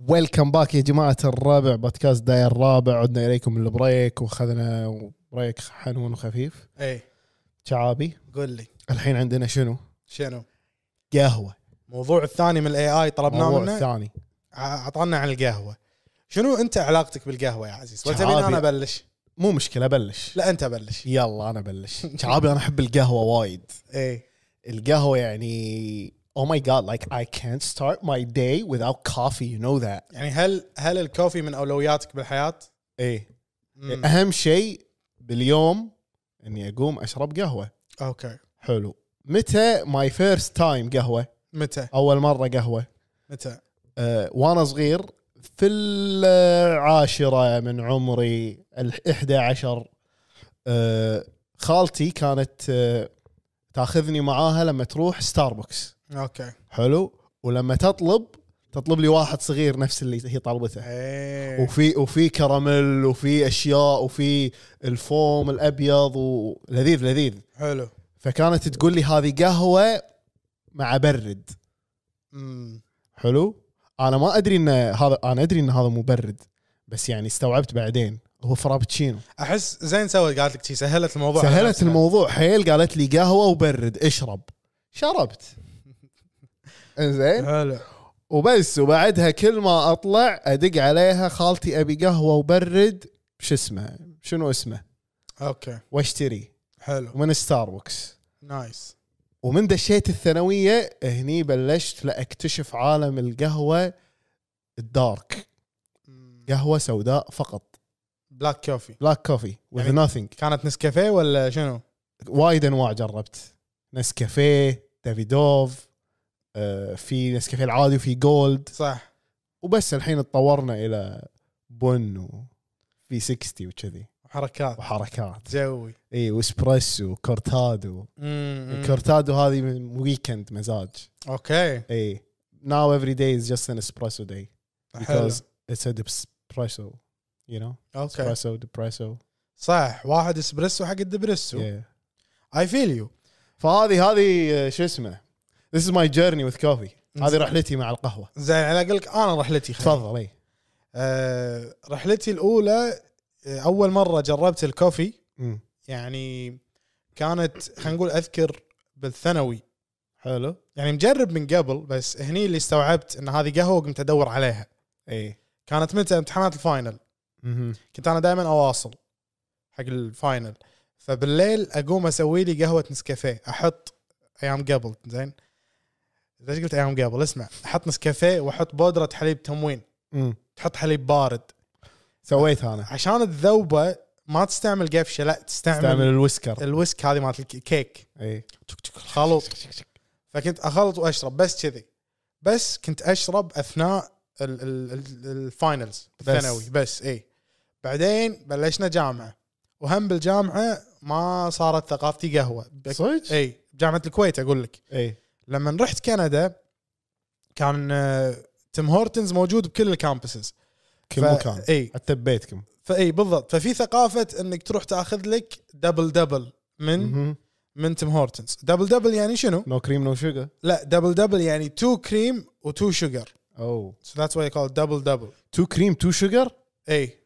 ويلكم باك يا جماعه الرابع بودكاست داير الرابع عدنا اليكم من البريك واخذنا بريك حنون وخفيف اي شعابي قول لي الحين عندنا شنو؟ شنو قهوه الموضوع الثاني من الاي اي طلبناه الموضوع منه الثاني ع- عطانا عن القهوه شنو انت علاقتك بالقهوه يا عزيز ولا شعابي. تبين انا ابلش مو مشكله بلش لا انت بلش يلا انا بلش شعابي انا احب القهوه وايد اي القهوه يعني oh my god like I can't start my day without coffee you know that يعني هل هل الكوفي من اولوياتك بالحياه ايه مم. اهم شيء باليوم اني اقوم اشرب قهوه اوكي حلو متى ماي فيرست تايم قهوه متى اول مره قهوه متى أه وانا صغير في العاشره من عمري ال 11 آه، خالتي كانت آه، تاخذني معاها لما تروح ستاربكس اوكي حلو ولما تطلب تطلب لي واحد صغير نفس اللي هي طالبته ايه وفي وفي كراميل وفي اشياء وفي الفوم الابيض ولذيذ لذيذ حلو فكانت تقول لي هذه قهوه مع برد امم حلو انا ما ادري ان هذا انا ادري ان هذا مبرد بس يعني استوعبت بعدين هو فرابتشينو احس زين سوت قالت لك شي سهلت الموضوع على سهلت نفسها. الموضوع حيل قالت لي قهوه وبرد اشرب شربت زين حلو وبس وبعدها كل ما اطلع ادق عليها خالتي ابي قهوه وبرد شو اسمه شنو اسمه اوكي واشتري حلو من ستاربكس نايس ومن دشيت الثانويه هني بلشت لا اكتشف عالم القهوه الدارك قهوه سوداء فقط بلاك كوفي بلاك كوفي وذ يعني- nothing كانت نسكافيه ولا شنو؟ وايد انواع جربت نسكافيه دافيدوف آه، في نسكافيه العادي وفي جولد صح وبس الحين تطورنا الى بن وفي 60 وكذي حركات وحركات جوي اي واسبريسو وكورتادو امم الكورتادو هذه من ويكند مزاج اوكي اي now every day is just an espresso day حلو because it's a espresso you know اوكي espresso depresso صح واحد اسبريسو حق الدبريسو yeah. اي فيل يو فهذه هذه آه، شو اسمه this is my journey with coffee Mm. هذه رحلتي مع القهوه زين انا اقول لك انا رحلتي خليل. تفضل اي آه، رحلتي الاولى آه، اول مره جربت الكوفي مم. يعني كانت خلينا نقول اذكر بالثانوي حلو يعني مجرب من قبل بس هني اللي استوعبت ان هذه قهوه قمت ادور عليها اي كانت متى امتحانات الفاينل إيه. مهم. كنت انا دائما اواصل حق الفاينل فبالليل اقوم اسوي لي قهوه نسكافيه احط ايام قبل زين ليش قلت ايام قبل اسمع احط نسكافيه واحط بودره حليب تموين مم. تحط حليب بارد سويت انا عشان الذوبه ما تستعمل قفشه لا تستعمل, استعمل تستعمل الوسكر الويسك هذه مالت الك- كيك اي خلط فكنت اخلط واشرب بس كذي بس كنت اشرب اثناء ال- ال- ال- الفاينلز الثانوي بس اي بعدين بلشنا جامعه وهم بالجامعه ما صارت ثقافتي قهوه بك- صدق؟ اي جامعه الكويت اقول لك اي لما رحت كندا كان آه، تيم هورتنز موجود بكل الكامبسز كل ف- مكان اي حتى ببيتكم فاي بالضبط ففي ثقافه انك تروح تاخذ لك دبل دبل من مهم. من تيم هورتنز دبل دبل يعني شنو؟ نو كريم نو شوجر لا دبل دبل يعني تو كريم وتو شوجر اوه سو ذاتس واي كول دبل دبل تو كريم تو شوجر اي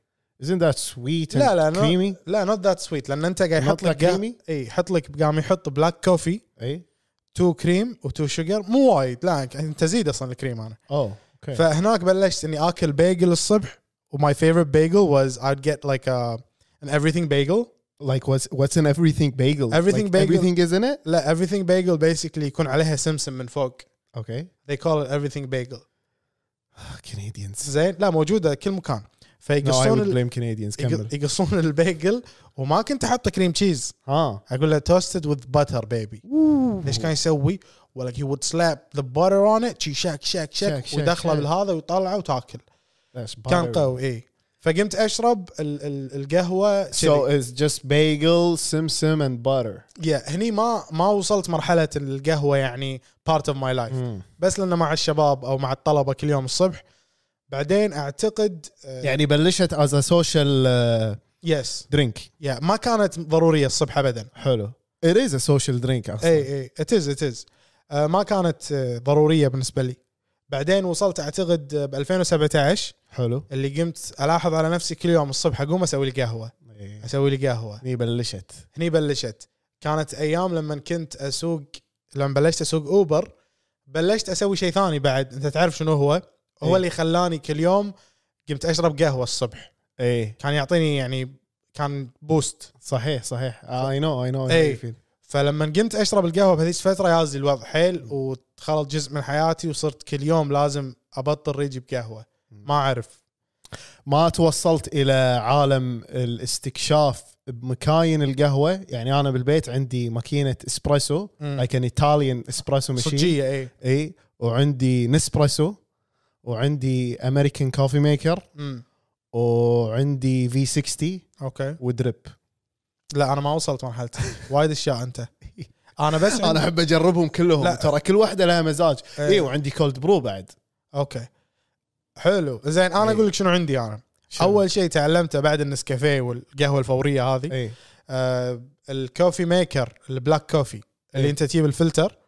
isn't that sweet and لا لا creamy not, لا نوت ذات سويت لان انت قاعد يحط Not لك like قا- creamy؟ اي يحط لك قام يحط بلاك كوفي اي تو كريم وتو شوجر مو وايد لا انت زيد اصلا الكريم انا اوه اوكي فهناك بلشت اني اكل بيجل الصبح وماي فيفورت بيجل واز I'd get like a an everything bagel like what's what's in everything bagel Everything like bagel. everything is in it لا everything bagel basically يكون عليها سمسم من فوق اوكي they call it everything bagel Canadians زين لا موجوده كل مكان no I فيقصون would ال... blame Canadians كمل يق- يقصون البيجل وما كنت احط كريم تشيز ها اقول له توستد وذ باتر بيبي ليش كان يسوي؟ ولا هي وود سلاب ذا باتر اون ات شي شاك شاك شاك شاك- شاك- ودخله شاك. Oh, بالهذا ويطلعه وتاكل That's كان butter. قوي اي فقمت اشرب ال ال القهوه so so it's just bagel simsim and butter yeah. هني ما ما وصلت مرحله القهوه يعني بارت اوف ماي لايف Hmm. بس لانه مع الشباب او مع الطلبه كل يوم الصبح بعدين آه، اعتقد يعني بلشت as a social uh, يس drink يا ما كانت ضروريه الصبح إيه، ابدا حلو it is a social drink اصلا اي اي اتز اتز ما كانت آه، ضروريه بالنسبه لي بعدين وصلت اعتقد ب 2017 حلو اللي قمت الاحظ على نفسي كل يوم الصبح اقوم اسوي لي قهوه إيه. اسوي لي قهوه هني بلشت هني بلشت كانت ايام لما كنت اسوق لما بلشت اسوق اوبر بلشت اسوي شيء ثاني بعد انت تعرف شنو هو هو إيه. اللي خلاني كل يوم قمت اشرب قهوه الصبح اي كان يعطيني يعني كان بوست إيه. صحيح صحيح I know I know how إيه. you feel. فلما قمت اشرب القهوه بهذيك الفتره يازلي الوضع حيل وخلط جزء من حياتي وصرت كل يوم لازم ابطل ريجي بقهوه ما اعرف ما توصلت الى عالم الاستكشاف بمكاين القهوه يعني انا بالبيت عندي ماكينه اسبريسو مم. لايك ان ايطاليان اسبريسو ماشين صجيه اي اي وعندي نسبريسو وعندي امريكان كوفي ميكر امم وعندي في 60 اوكي ودريب لا انا ما وصلت مرحلتي وايد اشياء انت انا بس انا احب اجربهم كلهم لا. ترى كل واحده لها مزاج إيه. اي وعندي كولد برو بعد اوكي حلو زين انا إيه. اقول لك شنو عندي انا شنو؟ اول شيء تعلمته بعد النسكافيه والقهوه الفوريه هذه اي آه الكوفي ميكر البلاك كوفي اللي إيه. انت تجيب الفلتر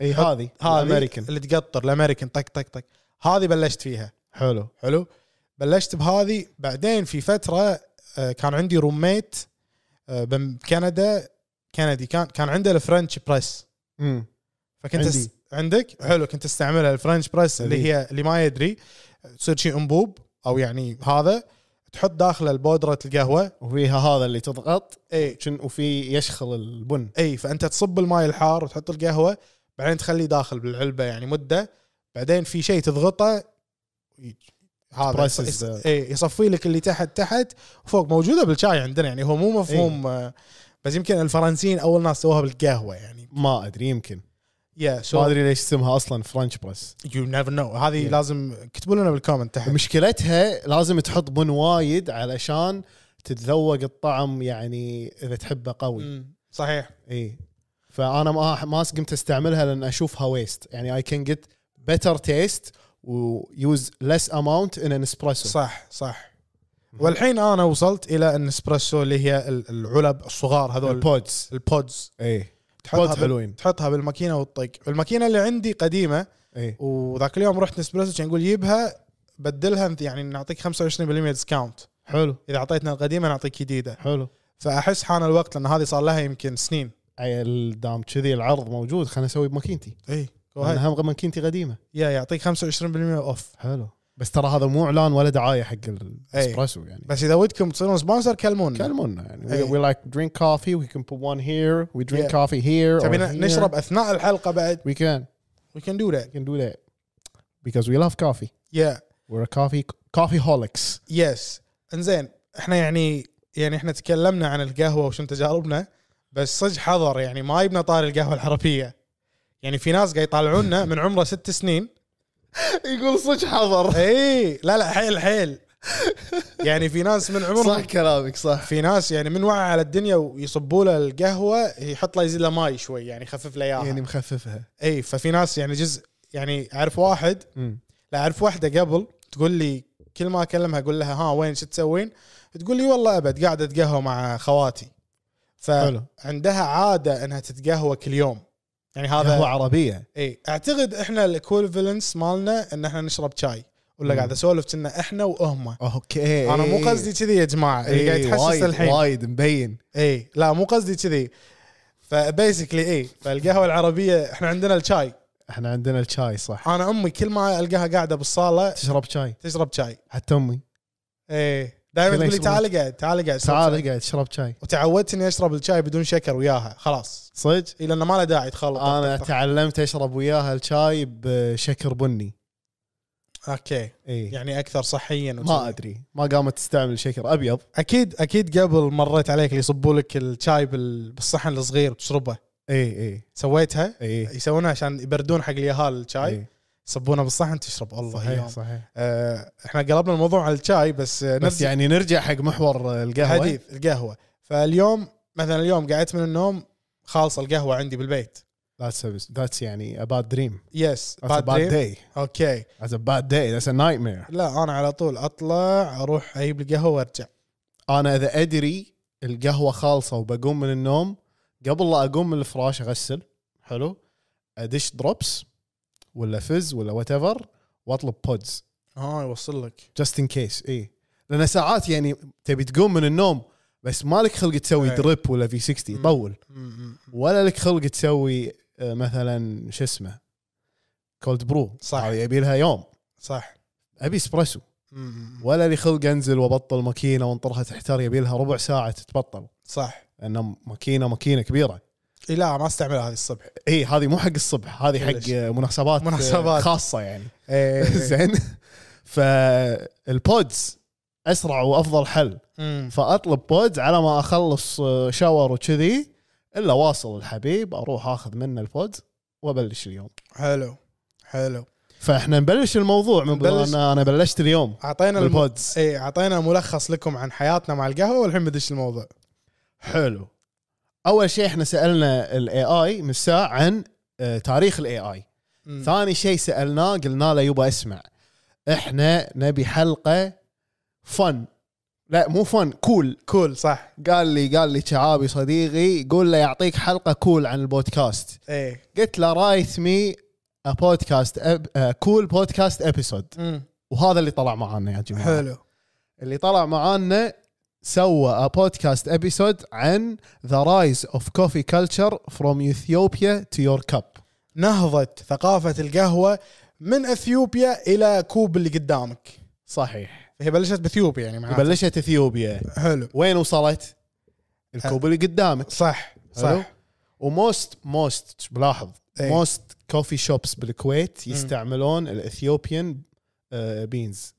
اي حط- هذه هذه امريكان اللي تقطر الامريكان طق طق طق هذه بلشت فيها حلو حلو بلشت بهذه بعدين في فتره آه، كان عندي روميت آه، بم- بكندا كندي كان كان عنده الفرنش بريس امم فكنت عندي. أس... عندك حلو كنت استعملها الفرنش بريس إيه. اللي جميل. هي اللي ما يدري تصير شيء انبوب او يعني هذا تحط داخله البودره القهوه وفيها هذا اللي تضغط اي شن- وفي يشخل البن اي فانت تصب الماي الحار وتحط القهوه بعدين تخليه داخل بالعلبه يعني مده بعدين في شيء تضغطه ي- هذا Presses يص- the- اي يصفي لك اللي تحت تحت وفوق موجوده بالشاي عندنا يعني هو مو مفهوم آه، بس يمكن الفرنسيين اول ناس سووها بالقهوه يعني ما ادري يمكن يا ما سو ادري ليش اسمها اصلا فرنش بريس يو نيفر نو هذه Yeah. لازم اكتبوا لنا بالكومنت تحت مشكلتها لازم تحط بن وايد علشان تتذوق الطعم يعني اذا تحبه قوي مم، صحيح اي فانا إيه. ما ما قمت استعملها لان اشوفها ويست يعني اي كان جيت بيتر تيست ويوز ليس اماونت ان ان اسبريسو صح صح والحين انا وصلت الى النسبرسو اللي هي ال- العلب الصغار هذول البودز البودز اي إيه. تحطها بودز بال- حلوين تحطها بالماكينه وتطق الماكينه اللي عندي قديمه اي وذاك اليوم رحت نسبرسو كان يقول جيبها بدلها انت- يعني نعطيك 25% ديسكاونت حلو اذا اعطيتنا القديمه نعطيك جديده حلو فاحس حان الوقت لان هذه صار لها يمكن سنين عيل دام كذي العرض موجود خلنا اسوي بماكينتي اي انا هم ماكينتي قديمه يا يعطيك 25% اوف حلو بس ترى هذا مو اعلان ولا دعايه حق الاسبريسو يعني إيه. بس اذا ودكم تصيرون سبونسر كلمونا كلمونا يعني أي. we, we like drink coffee we can put one here we drink Yeah. coffee here or تبينا here. نشرب اثناء الحلقه بعد we can وي كان دو ذات we can do that because we love coffee يا we're a coffee coffee holics يس انزين احنا يعني يعني احنا تكلمنا عن القهوه وشنو تجاربنا بس صدق حذر يعني ما يبنا طاري القهوه الحرفيه يعني في ناس قاعد يطالعونا من عمره ست سنين [laughs] يقول صدق [laughs] حضر اي لا لا حيل حيل يعني في ناس من عمره كلامك صح في ناس يعني من وعى على الدنيا ويصبوا له القهوه يحط له يزيد له ماي شوي يعني يخفف له اياها يعني يعني مخففها اي ففي ناس يعني جزء يعني اعرف واحد مم. لا اعرف واحده قبل تقول لي كل ما اكلمها اقول لها ها وين شو تسوين؟ تقول لي والله ابد قاعده اتقهوى مع خواتي. حلو. فعندها عاده انها تتقهوى كل يوم. يعني هذا هو هذا عربيه اي اعتقد احنا الاكوفلنس مالنا ان احنا نشرب شاي ولا مم. قاعد اسولف كنا احنا وهم. اوكي انا مو قصدي كذي يا جماعه اللي قاعد إيه، يتحسس وايد- الحين. وايد مبين اي لا مو قصدي كذي. إيه، فبيسكلي اي فالقهوه العربيه احنا عندنا الشاي، احنا عندنا الشاي صح انا امي كل ما القاها قاعده بالصاله تشرب شاي تشرب شاي. حتى امي ايه دائما كلنا تقول لي يشربون. تعال اقعد تعال اقعد تعال اقعد اشرب شاي وتعودت اني اشرب الشاي بدون شكر وياها خلاص صدق آه. إيه، لانه ما له داعي تخلط انا طق- طق- تعلمت اشرب وياها الشاي بشكر بني طق. اوكي اي يعني اكثر صحيا ما ادري ما قامت تستعمل شكر ابيض اكيد اكيد قبل مريت عليك اللي يصبوا لك الشاي بال- بالصحن الصغير وتشربه اي اي سويتها اي يسوونها عشان يبردون حق اليهال الشاي إي. يصبونه بالصحن تشرب الله إيه. صحيح يوم صحيح آه احنا قلبنا الموضوع على الشاي بس, آه، بس يعني نرجع حق محور القهوه حديث القهوه فاليوم مثلا اليوم قعدت من النوم خالصه القهوه عندي بالبيت That's a, that's يعني a bad dream. يس That's a bad bad dream. day. اوكي That's a bad day. That's a nightmare. لا انا على طول اطلع اروح اجيب القهوه وارجع انا اذا ادري القهوه خالصه وبقوم من النوم قبل لا اقوم من الفراش اغسل حلو ادش دروبس ولا فز ولا وات ايفر واطلب بودز اه يوصل لك جاست ان كيس اي لان ساعات يعني تبي تقوم من النوم بس مالك خلق تسوي إيه. دريب ولا في 60 مم. طول ولا لك خلق تسوي آه، مثلا شو اسمه كولد برو صح. هذه يبي لها يوم صح ابي اسبريسو مم. ولا لي خلق انزل وابطل ماكينه وانطرها تحتار يبي لها ربع ساعه تتبطل صح لان ماكينه ماكينه كبيره إي لا ما استعملها هذه الصبح اي إيه، هذه مو حق الصبح هذه كلش. حق آه، مناسبات آه، مناسبات. خاصه يعني [laughs] إيه. زين فالبودز اسرع وافضل حل مم. فاطلب بودز على ما اخلص آه، شاور وكذي الا واصل الحبيب اروح اخذ منه البودز وابلش اليوم حلو حلو فاحنا نبلش الموضوع من نبلش. بلش انا بلشت اليوم اعطينا الم... إيه، بالبودز. اي اعطينا ملخص لكم عن حياتنا مع القهوه والحين بدش الموضوع حلو اول شيء احنا سالنا الاي اي من الساعه عن آه، تاريخ الاي اي مم. ثاني شيء سالناه قلنا له يبا اسمع احنا نبي حلقه فن لا مو فن كول كول صح قال لي قال لي شعابي صديقي قول له يعطيك حلقه كول عن البودكاست ايه قلت له رايت مي بودكاست كول بودكاست ابيسود مم. وهذا اللي طلع معانا يا جماعه حلو اللي طلع معانا سوى بودكاست ابيسود عن ذا رايز اوف كوفي كلتشر فروم اثيوبيا تو يور كاب نهضة ثقافة القهوة من اثيوبيا الى كوب اللي قدامك صحيح هي بلشت باثيوبيا يعني معناته بلشت اثيوبيا حلو وين وصلت؟ الكوب اللي قدامك صح حلو صح وموست موست بلاحظ إيه. موست كوفي شوبس بالكويت يستعملون الاثيوبيان بينز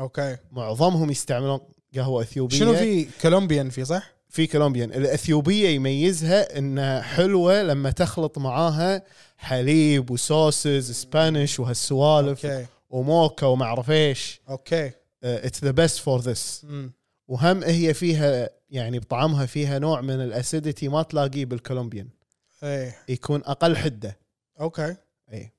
اوكي معظمهم يستعملون قهوه اثيوبيه شنو في كولومبيان في صح؟ في كولومبيان الاثيوبيه يميزها انها حلوه لما تخلط معاها حليب وسوسز سبانيش وهالسوالف اوكي وموكا وما آه، اعرف ايش اوكي اتس ذا بيست فور ذس مم. وهم هي فيها يعني بطعمها فيها نوع من الاسيديتي ما تلاقيه بالكولومبيان ايه يكون اقل حده اوكي اي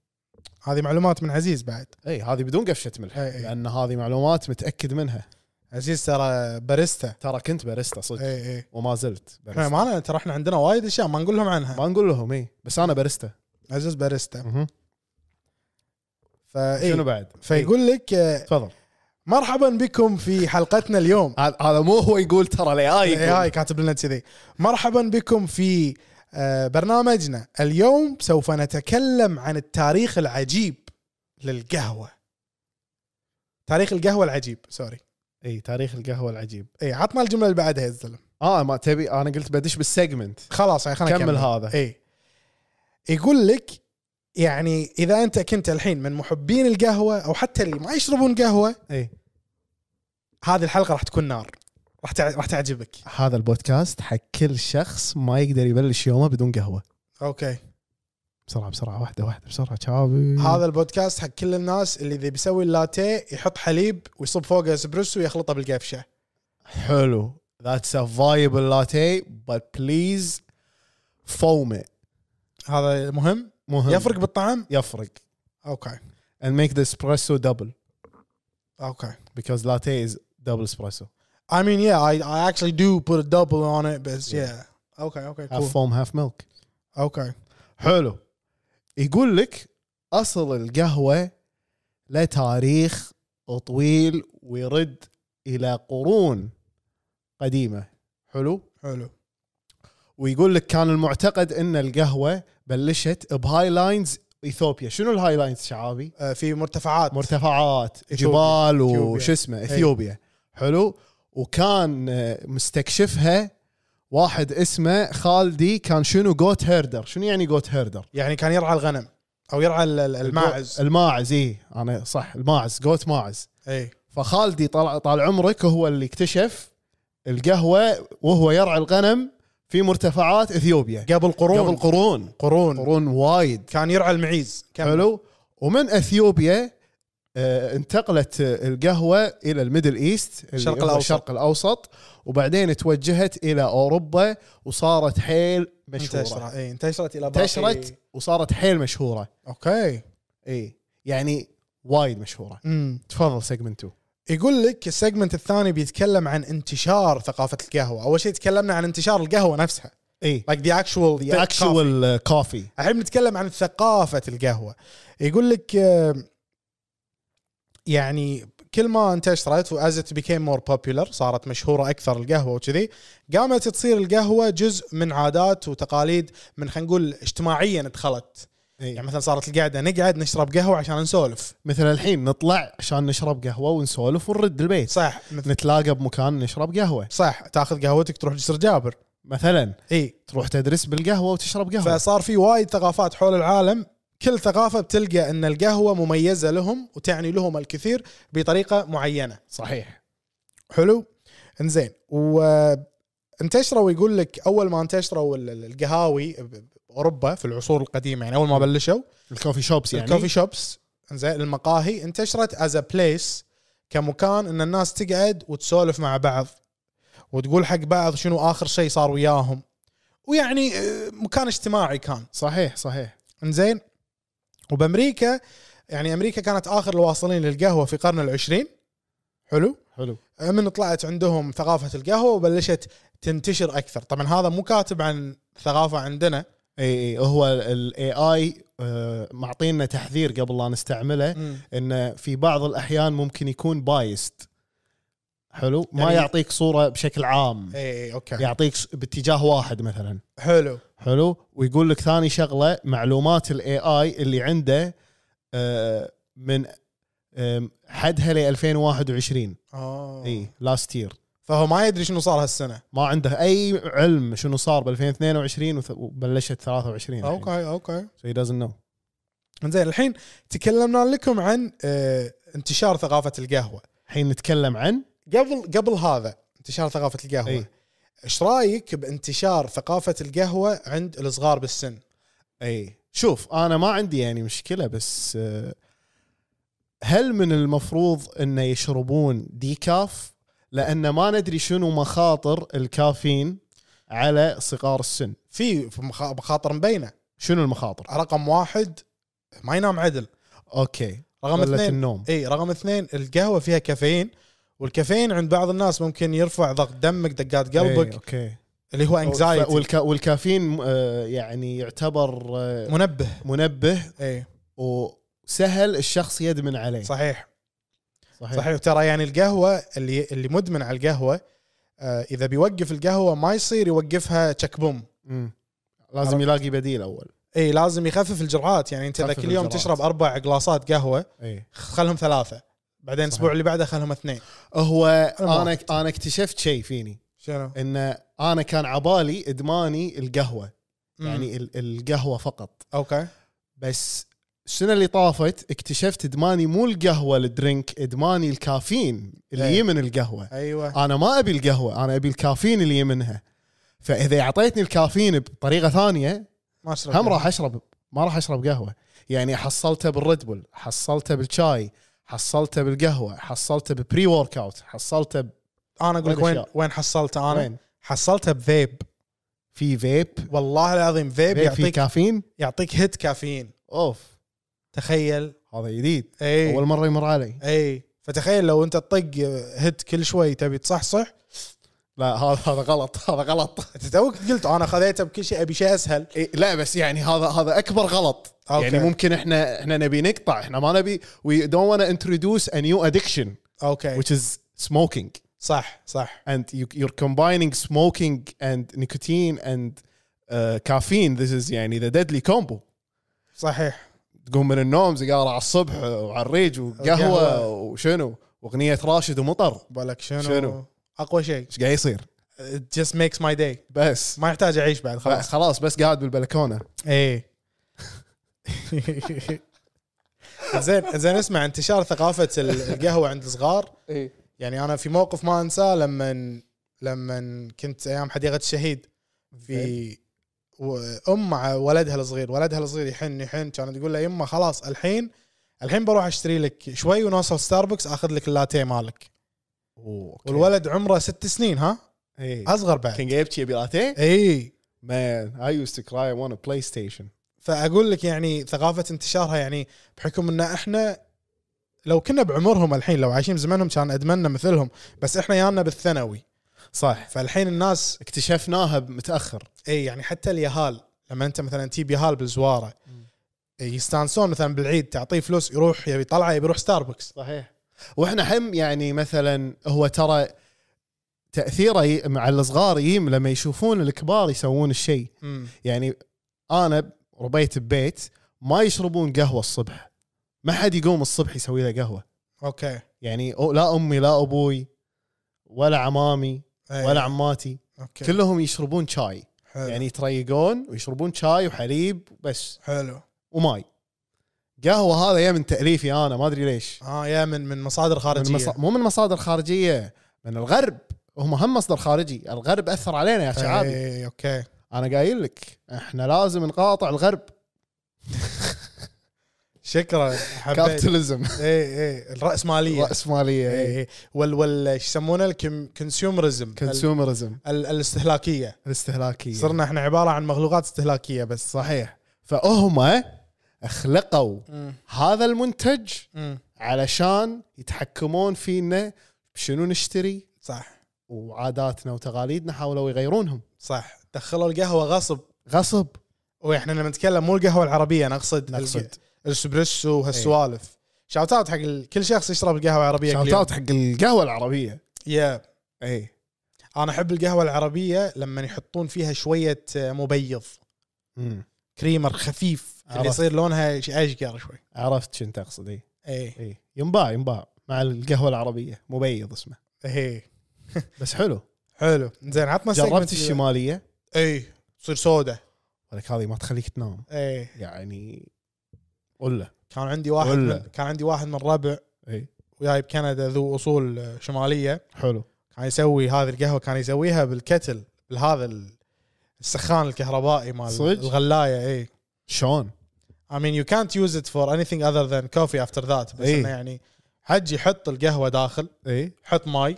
هذه معلومات من عزيز بعد اي هذه بدون قفشه ملح إي، إي. لان هذه معلومات متاكد منها عزيز ترى باريستا ترى كنت باريستا صدق اي اي وما زلت احنا باريستا ما لنا- ترى احنا عندنا وايد اشياء ما نقول لهم عنها ما نقول لهم اي بس انا باريستا عزيز باريستا مهم. فاي شنو بعد؟ فيقول لك آه، تفضل مرحبا بكم في حلقتنا اليوم هذا هذا مو هو يقول ترى الاي اي إيه، هاي كاتب لنا كذي مرحبا بكم في آه، برنامجنا اليوم سوف نتكلم عن التاريخ العجيب للقهوه تاريخ القهوه العجيب سوري اي تاريخ القهوه العجيب إيه، اي عطنا الجمله اللي بعدها يا الزلم اه ما تبي انا قلت بدش بالسيجمنت خلاص يعني خلينا كمل إيه. هذا. اي يقول لك يعني اذا انت كنت الحين من محبين القهوه او حتى اللي ما يشربون قهوه اي هذه الحلقه راح تكون نار راح تع- راح تعجبك هذا البودكاست حق كل شخص ما يقدر يبلش يومه بدون قهوه اوكي بسرعه بسرعه واحده واحده بسرعه شعابي هذا البودكاست حق كل الناس اللي اذا بيسوي اللاتيه يحط حليب ويصب فوقه اسبريسو ويخلطه بالقفشه حلو ذاتس ا فايبل لاتيه بت بليز فوم ات هذا مهم مهم يفرق بالطعم يفرق اوكي and make the espresso double اوكي because latte is double espresso I mean yeah I, I actually do put a double on it but yeah, اوكي اوكي half cool. foam half milk اوكي حلو يقول لك اصل القهوه له تاريخ طويل ويرد الى قرون قديمه حلو حلو ويقول لك كان المعتقد ان القهوه بلشت بهاي لاينز اثيوبيا شنو الهاي لاينز شعابي آه، في مرتفعات مرتفعات إثيوبيا. جبال إثيوبيا. إيه. وش اسمه اثيوبيا حلو وكان آه، مستكشفها واحد اسمه خالدي كان شنو جوت هيردر شنو يعني جوت هيردر يعني كان يرعى الغنم او يرعى ال- ال- الماعز الماعز اي انا صح الماعز جوت ماعز اي فخالدي طال طال عمرك هو اللي اكتشف القهوه وهو يرعى الغنم في مرتفعات اثيوبيا قبل قرون قبل قرون قرون قرون وايد كان يرعى المعيز كمل. حلو ومن اثيوبيا آه، انتقلت آه، القهوه الى الميدل ايست اللي الشرق هو الأوسط. الشرق الاوسط وبعدين توجهت الى اوروبا وصارت حيل انتشرت مشهوره اي انتشرت الى باقي انتشرت وصارت حيل مشهوره اوكي اي يعني وايد مشهوره امم تفضل سيجمنت 2 يقول لك السيجمنت الثاني بيتكلم عن انتشار ثقافه القهوه اول شيء تكلمنا عن انتشار القهوه نفسها اي like إيه. the actual ذا اكشوال كوفي الحين بنتكلم عن ثقافه القهوه يقول لك آه، يعني كل ما انتشرت واز ات بيكيم مور بوبيلر صارت مشهوره اكثر القهوه وكذي قامت تصير القهوه جزء من عادات وتقاليد من خلينا نقول اجتماعيا دخلت يعني مثلا صارت القعده نقعد نشرب قهوه عشان نسولف مثل الحين نطلع عشان نشرب قهوه ونسولف ونرد البيت صح مثل نتلاقى بمكان نشرب قهوه صح تاخذ قهوتك تروح جسر جابر مثلا اي تروح تدرس بالقهوه وتشرب قهوه فصار في وايد ثقافات حول العالم كل ثقافة بتلقى أن القهوة مميزة لهم وتعني لهم الكثير بطريقة معينة صحيح حلو انزين وانتشروا يقول لك أول ما انتشروا ال- ال- القهاوي ب- بأوروبا في العصور القديمة يعني أول ما بلشوا الكوفي شوبس يعني الكوفي شوبس انزين المقاهي انتشرت از ا بليس كمكان ان الناس تقعد وتسولف مع بعض وتقول حق بعض شنو اخر شيء صار وياهم ويعني آه، مكان اجتماعي كان صحيح صحيح انزين وبامريكا يعني امريكا كانت اخر الواصلين للقهوه في قرن العشرين حلو حلو من طلعت عندهم ثقافه القهوه وبلشت تنتشر اكثر طبعا هذا مو كاتب عن ثقافه عندنا اي اي هو الاي اي آه، معطينا تحذير قبل لا نستعمله انه في بعض الاحيان ممكن يكون بايست حلو ما يعني- يعطيك صوره بشكل عام اي اي اوكي يعني يعطيك س- باتجاه واحد مثلا حلو حلو ويقول لك ثاني شغله معلومات الاي اي اللي عنده آه، من آم، حدها ل 2021 اه اي لاست يير فهو ما يدري شنو صار هالسنه إيه، ما عنده اي علم شنو صار ب 2022 وث- وبلشت 23 اوكي اوكي سو هي دازنت نو زين الحين تكلمنا لكم عن آه، انتشار ثقافه القهوه الحين نتكلم عن قبل قبل هذا انتشار ثقافه القهوه إي. ايش رايك بانتشار ثقافه القهوه عند الصغار بالسن اي شوف انا ما عندي يعني مشكله بس آه، هل من المفروض انه يشربون ديكاف لان ما ندري شنو مخاطر الكافيين على صغار السن في في مخا- مخاطر مبينه شنو المخاطر رقم واحد ما ينام عدل اوكي رقم قلة اثنين النوم اي رقم اثنين القهوه فيها كافيين والكافيين عند بعض الناس ممكن يرفع ضغط دمك دقات إي، قلبك اوكي اللي هو ف- انكزايتي والكا- والكافيين آه، يعني يعتبر آه، منبه منبه اي وسهل الشخص يدمن عليه صحيح صحيح, صحيح ترى يعني القهوه اللي اللي مدمن على القهوه آه اذا بيوقف القهوه ما يصير يوقفها تشك بوم مم. لازم يلاقي بديل اول اي لازم يخفف الجرعات يعني انت اذا خفف كل يوم الجرعات. تشرب اربع قلاصات قهوه اي خلهم ثلاثه بعدين الاسبوع اللي بعده خلهم اثنين هو انا واحد. انا اكتشفت شيء فيني شنو؟ ان انا كان عبالي ادماني القهوه يعني ال- القهوه فقط اوكي بس السنه اللي طافت اكتشفت ادماني مو القهوه الدرينك ادماني الكافيين اللي إيه. يجي من القهوه ايوه انا ما ابي القهوه انا ابي الكافيين اللي يجي منها فاذا اعطيتني الكافيين بطريقه ثانيه ما اشرب هم راح اشرب ما راح اشرب قهوه يعني حصلته بالريد بول حصلته بالشاي حصلته بالقهوه حصلته ببري ورك اوت حصلته ب- انا اقول لك وين وين وين حصلتها انا؟ وين؟ حصلتها بفيب في فيب والله العظيم فيب, فيب إيه، في يعطيك كافيين يعطيك هيت كافيين اوف تخيل هذا جديد اي اول مره يمر علي اي فتخيل لو انت تطق هيت كل شوي تبي تصحصح لا هذا هذا غلط [laughs] هذا غلط انت توك قلت انا خذيتها بكل شيء ابي شيء اسهل إيه، لا بس يعني هذا هذا اكبر غلط أوكي. يعني ممكن احنا احنا نبي نقطع احنا ما نبي وي دونت وانا انتروديوس ا نيو ادكشن اوكي which is smoking صح صح and you, you're combining smoking and nicotine and uh, caffeine this is يعني the deadly combo صحيح تقوم من النوم سيجاره على الصبح وعلى الريج وقهوه وقهوة. وشنو واغنيه راشد ومطر بالك شنو شنو؟ اقوى شيء ايش قاعد يصير It just makes my day بس ما يحتاج اعيش بعد خلاص خلاص بس قاعد بالبلكونه اي زين زين اسمع انتشار ثقافه ال- القهوه عند الصغار اي يعني انا في موقف ما انساه لما لما كنت ايام حديقه الشهيد في و- ام مع ولدها الصغير ولدها الصغير يحن يحن كانت تقول له يمه خلاص الحين الحين بروح اشتري لك شوي ونوصل ستاربكس اخذ لك اللاتيه مالك والولد عمره ست سنين ها اصغر بعد كان جايب شي بلاتيه اي Man, I used to cry. I want a PlayStation. فاقول لك يعني ثقافه انتشارها يعني بحكم ان احنا لو كنا بعمرهم الحين لو عايشين بزمنهم كان ادمنا مثلهم بس احنا يانا بالثانوي صح فالحين الناس اكتشفناها متاخر اي يعني حتى اليهال لما انت مثلا تجيب يهال بالزواره إي يستانسون مثلا بالعيد تعطيه فلوس يروح يبي طلعه يبي يروح ستاربكس صحيح واحنا هم يعني مثلا هو ترى تاثيره ي- مع الصغار يم لما يشوفون الكبار يسوون الشيء يعني انا ربيت ببيت ما يشربون قهوه الصبح ما حد يقوم الصبح يسوي له قهوه اوكي يعني أو- لا امي لا ابوي ولا عمامي أي. ولا عماتي اوكي كل... كلهم يشربون شاي حلو. يعني يتريقون ويشربون شاي وحليب بس حلو وماي قهوه هذا يا من تاليفي انا ما ادري ليش اه يا من من مصادر خارجيه من مص... مو من مصادر خارجيه من الغرب هم هم مصدر خارجي الغرب اثر علينا يا شعابي اي اوكي انا قايل لك احنا لازم نقاطع الغرب شكرا حبيت كابيتاليزم [laughs] اي اي الراسماليه راسماليه اي اي اي وال وال شو يسمونه الكونسيومرزم كونسيومرزم الاستهلاكيه الاستهلاكيه صرنا احنا عباره عن مخلوقات استهلاكيه بس صح صحيح فهم اخلقوا هذا المنتج مم. علشان يتحكمون فينا شنو نشتري صح وعاداتنا وتقاليدنا حاولوا يغيرونهم صح دخلوا القهوه غصب غصب واحنا لما نتكلم مو القهوه العربيه نقصد نقصد. إيه. الاسبريسو وهالسوالف شاوت اوت حق ال- كل شخص يشرب قهوه عربيه كل شاوت يوم. اوت حق إيه. القهوه العربيه يا اي انا احب القهوه العربيه لما يحطون فيها شويه آه، مبيض مم. كريمر خفيف اللي عرفت. يصير لونها ش- اشقر شوي إيه. عرفت شنو تقصد اي اي اي إيه. ينباع ينباع مع القهوه العربيه مبيض اسمه [laughs] اي بس حلو إيه. حلو زين عطنا جربت segment- الشماليه اي تصير سودة ولك هذه ما تخليك تنام اي يعني قول له كان عندي واحد ولا. من كان عندي واحد من ربع اي وياي بكندا ذو اصول آه، شماليه حلو كان يسوي هذه القهوه كان يسويها بالكتل بهذا ال- السخان الكهربائي مال صدق؟ الغلايه اي شلون I mean you can't use it for anything other than coffee after that بس إيه. انه يعني حج يحط القهوه داخل اي حط ماي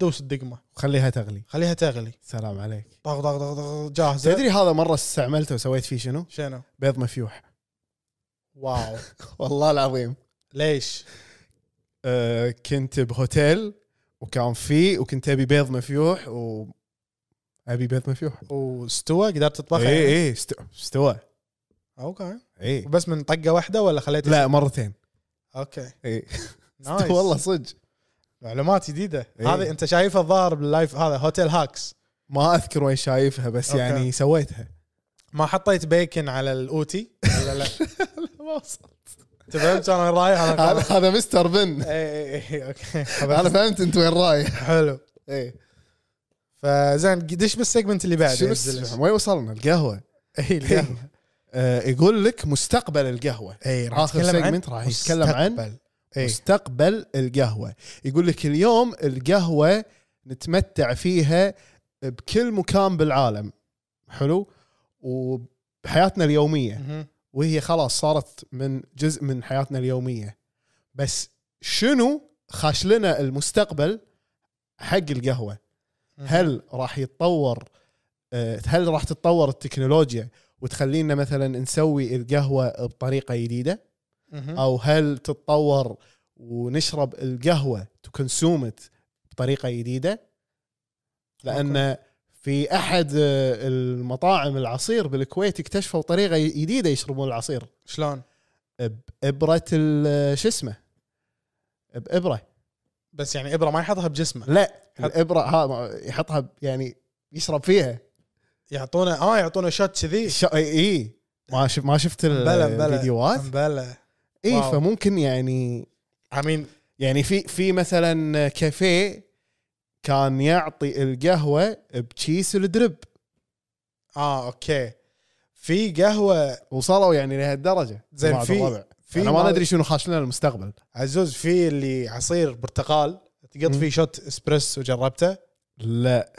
دوس الدقمه خليها تغلي خليها تغلي سلام عليك طق طق طق طق جاهزه تدري هذا مره استعملته وسويت فيه شنو شنو؟ بيض مفيوح [laughs] واو والله العظيم ليش؟ أه كنت بهوتيل وكان في وكنت ابي بيض مفيوح و ابي بيض مفيوح واستوى قدرت تطبخها؟ اي يعني؟ اي است- استوى اوكي اي بس من طقه واحده ولا خليت لا مرتين اوكي [laughs] اي نايس والله صدق معلومات جديده إيه. هذه انت شايفها الظاهر باللايف هذا هوتيل هاكس ما اذكر وين شايفها بس أوكي. يعني سويتها ما حطيت بيكن على الاوتي ولا لا ما وصل. انت فهمت انا وين رايح انا هذا خلاص. إيه، هذا مستر بن اي اي اي اوكي انا فهمت انت وين رايح إيه. حلو اي فزين دش بالسيجمنت اللي بعده شنو ينزل. السالفة؟ وين وصلنا [laughs] القهوه اي إيه، القهوة. آه، يقول لك مستقبل القهوه اي إيه، راح اخر نتكلم عن سيجمنت راح يتكلم عن مستقبل. إيه. اي مستقبل القهوة يقول لك اليوم القهوة نتمتع فيها بكل مكان بالعالم حلو وبحياتنا اليومية مهم. وهي خلاص صارت من جزء من حياتنا اليومية بس شنو خاش لنا المستقبل حق القهوة هل راح يتطور آه، هل راح تتطور التكنولوجيا وتخلينا مثلا نسوي القهوة بطريقة جديدة مهم. او هل تتطور ونشرب القهوه تو كونسومت بطريقه جديده لان في احد آه، المطاعم العصير بالكويت اكتشفوا طريقه جديده يشربون العصير شلون بابره ال- آه، شو اسمه بابره بس يعني ابره ما يحطها بجسمه لا حط- الابره ها يحطها ب- يعني يشرب فيها يعطونه اه يعطونه شوت كذي ش- اي إيه، ما شف ما شفت ال- بلا بلا الفيديوهات بلا اي واو. فممكن يعني عمين يعني في في مثلا كافيه كان يعطي القهوه بكيس الدرب اه اوكي في قهوه وصلوا يعني لهالدرجه زين، جماعة في- الربع. في انا ما مال- ادري شنو خاش لنا المستقبل عزوز في اللي عصير برتقال تقط مم. فيه شوت اسبريسو جربته لا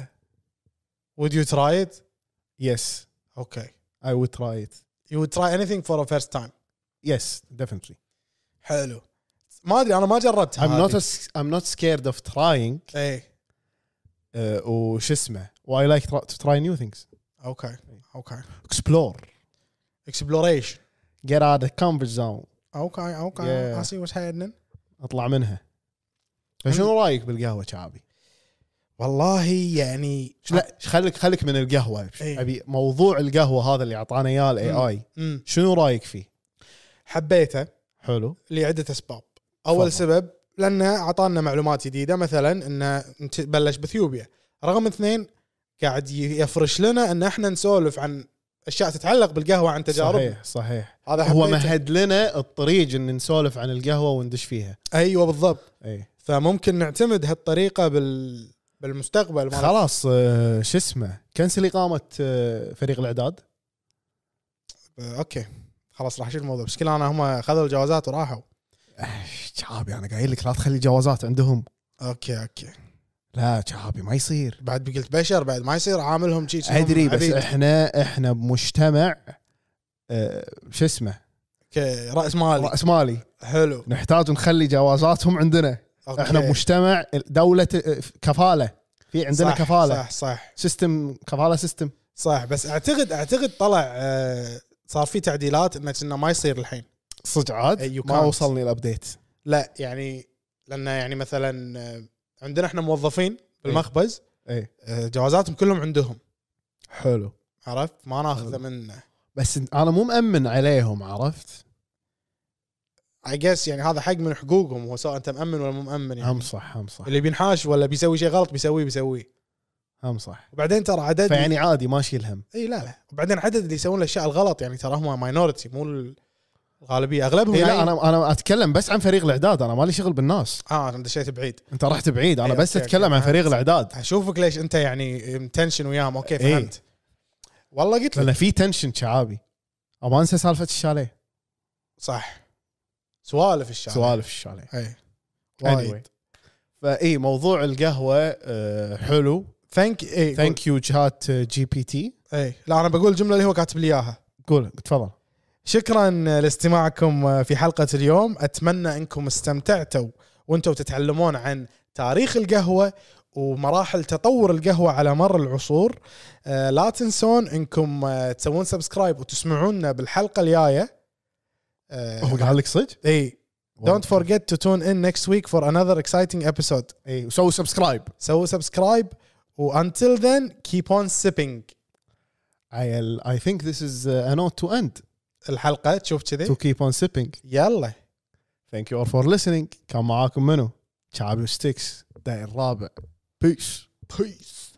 would you try it يس اوكي اي وود تراي ات you would try anything for a first time يس ديفنتلي حلو ما ادري انا ما جربتها I'm not هذه. a- I'm not scared of trying اي uh, وش اسمه واي لايك to try new things اوكي اوكي explore اكسبلوريشن get out of the comfort zone اوكي اوكي Yeah. I see what's happening اطلع منها فشنو رايك بالقهوه شعبي؟ والله يعني لا خليك خليك من القهوه إيه. ابي موضوع القهوه هذا اللي اعطانا اياه الاي اي امم شنو رايك فيه؟ حبيته حلو لعده اسباب اول تفضل. سبب لانه اعطانا معلومات جديده مثلا انه انت- بلش باثيوبيا رقم اثنين قاعد ي- يفرش لنا ان احنا نسولف عن اشياء تتعلق بالقهوه عن تجارب صحيح صحيح هذا هو حبيته. مهد لنا الطريق ان نسولف عن القهوه وندش فيها ايوه أيوة، بالضبط اي فممكن نعتمد هالطريقه بال بالمستقبل مال- خلاص آه، شو اسمه كنسل اقامه آه، فريق الاعداد آه، اوكي خلاص راح اشيل الموضوع بس كل انا هم اخذوا الجوازات وراحوا شعبي انا قايل لك لا تخلي جوازات عندهم اوكي اوكي لا شعبي ما يصير بعد قلت بشر بعد ما يصير عاملهم شي شي هم ادري بس عبيد. احنا احنا بمجتمع آه، شو اسمه كراس مالي راس مالي حلو نحتاج نخلي جوازاتهم عندنا أوكي. احنا بمجتمع دوله كفاله آه، في عندنا صح، كفاله صح صح سيستم كفاله سيستم صح بس اعتقد اعتقد طلع آه، صار في تعديلات انه كنا ما يصير الحين صدق عاد Hey, you ما can't. وصلني الابديت لا يعني لانه يعني مثلا آه، عندنا احنا إيه. موظفين بالمخبز اي آه، جوازاتهم كلهم عندهم حلو عرفت ما ناخذه منه بس انا مو مامن عليهم عرفت اي جس يعني هذا حق من حقوقهم هو سواء انت مامن ولا مو مامن يعني هم صح هم صح اللي بينحاش ولا بيسوي شيء غلط بيسويه بيسويه هم صح وبعدين ترى عدد فيعني عادي ما اشيل هم اي لا لا وبعدين عدد اللي يسوون الاشياء الغلط يعني ترى هم ماينورتي مو الغالبيه اغلبهم اي إيه، لا يعني- انا انا اتكلم بس عن فريق الاعداد انا مالي شغل بالناس اه انا دشيت بعيد انت رحت بعيد انا إيه، بس أوكي، اتكلم أوكي. عن فريق الاعداد اشوفك ليش انت يعني متنشن وياهم اوكي إيه. فهمت والله قلت لك لان في تنشن شعابي اما انسى سالفه الشاليه صح سوالف الشارع سوالف الشاليه اي anyway. فاي موضوع القهوه آه، حلو ثانك اي ثانك يو جات جي بي تي اي إيه، لا انا بقول الجمله اللي هو كاتب لي اياها قول تفضل شكرا لاستماعكم آه، في حلقه اليوم اتمنى انكم استمتعتوا وانتم تتعلمون عن تاريخ القهوه ومراحل تطور القهوه على مر العصور آه، لا تنسون انكم آه، تسوون سبسكرايب وتسمعونا بالحلقه الجايه هو قال لك صدق؟ اي Don't forget to tune in next week for another exciting episode. اي وسووا سبسكرايب سووا سبسكرايب وانتل then keep on sipping I think this is uh, a note to end الحلقه تشوف to كذي keep on sipping يلا thank you all for listening كان معاكم منو؟ شعبي ستيكس داير الرابع peace peace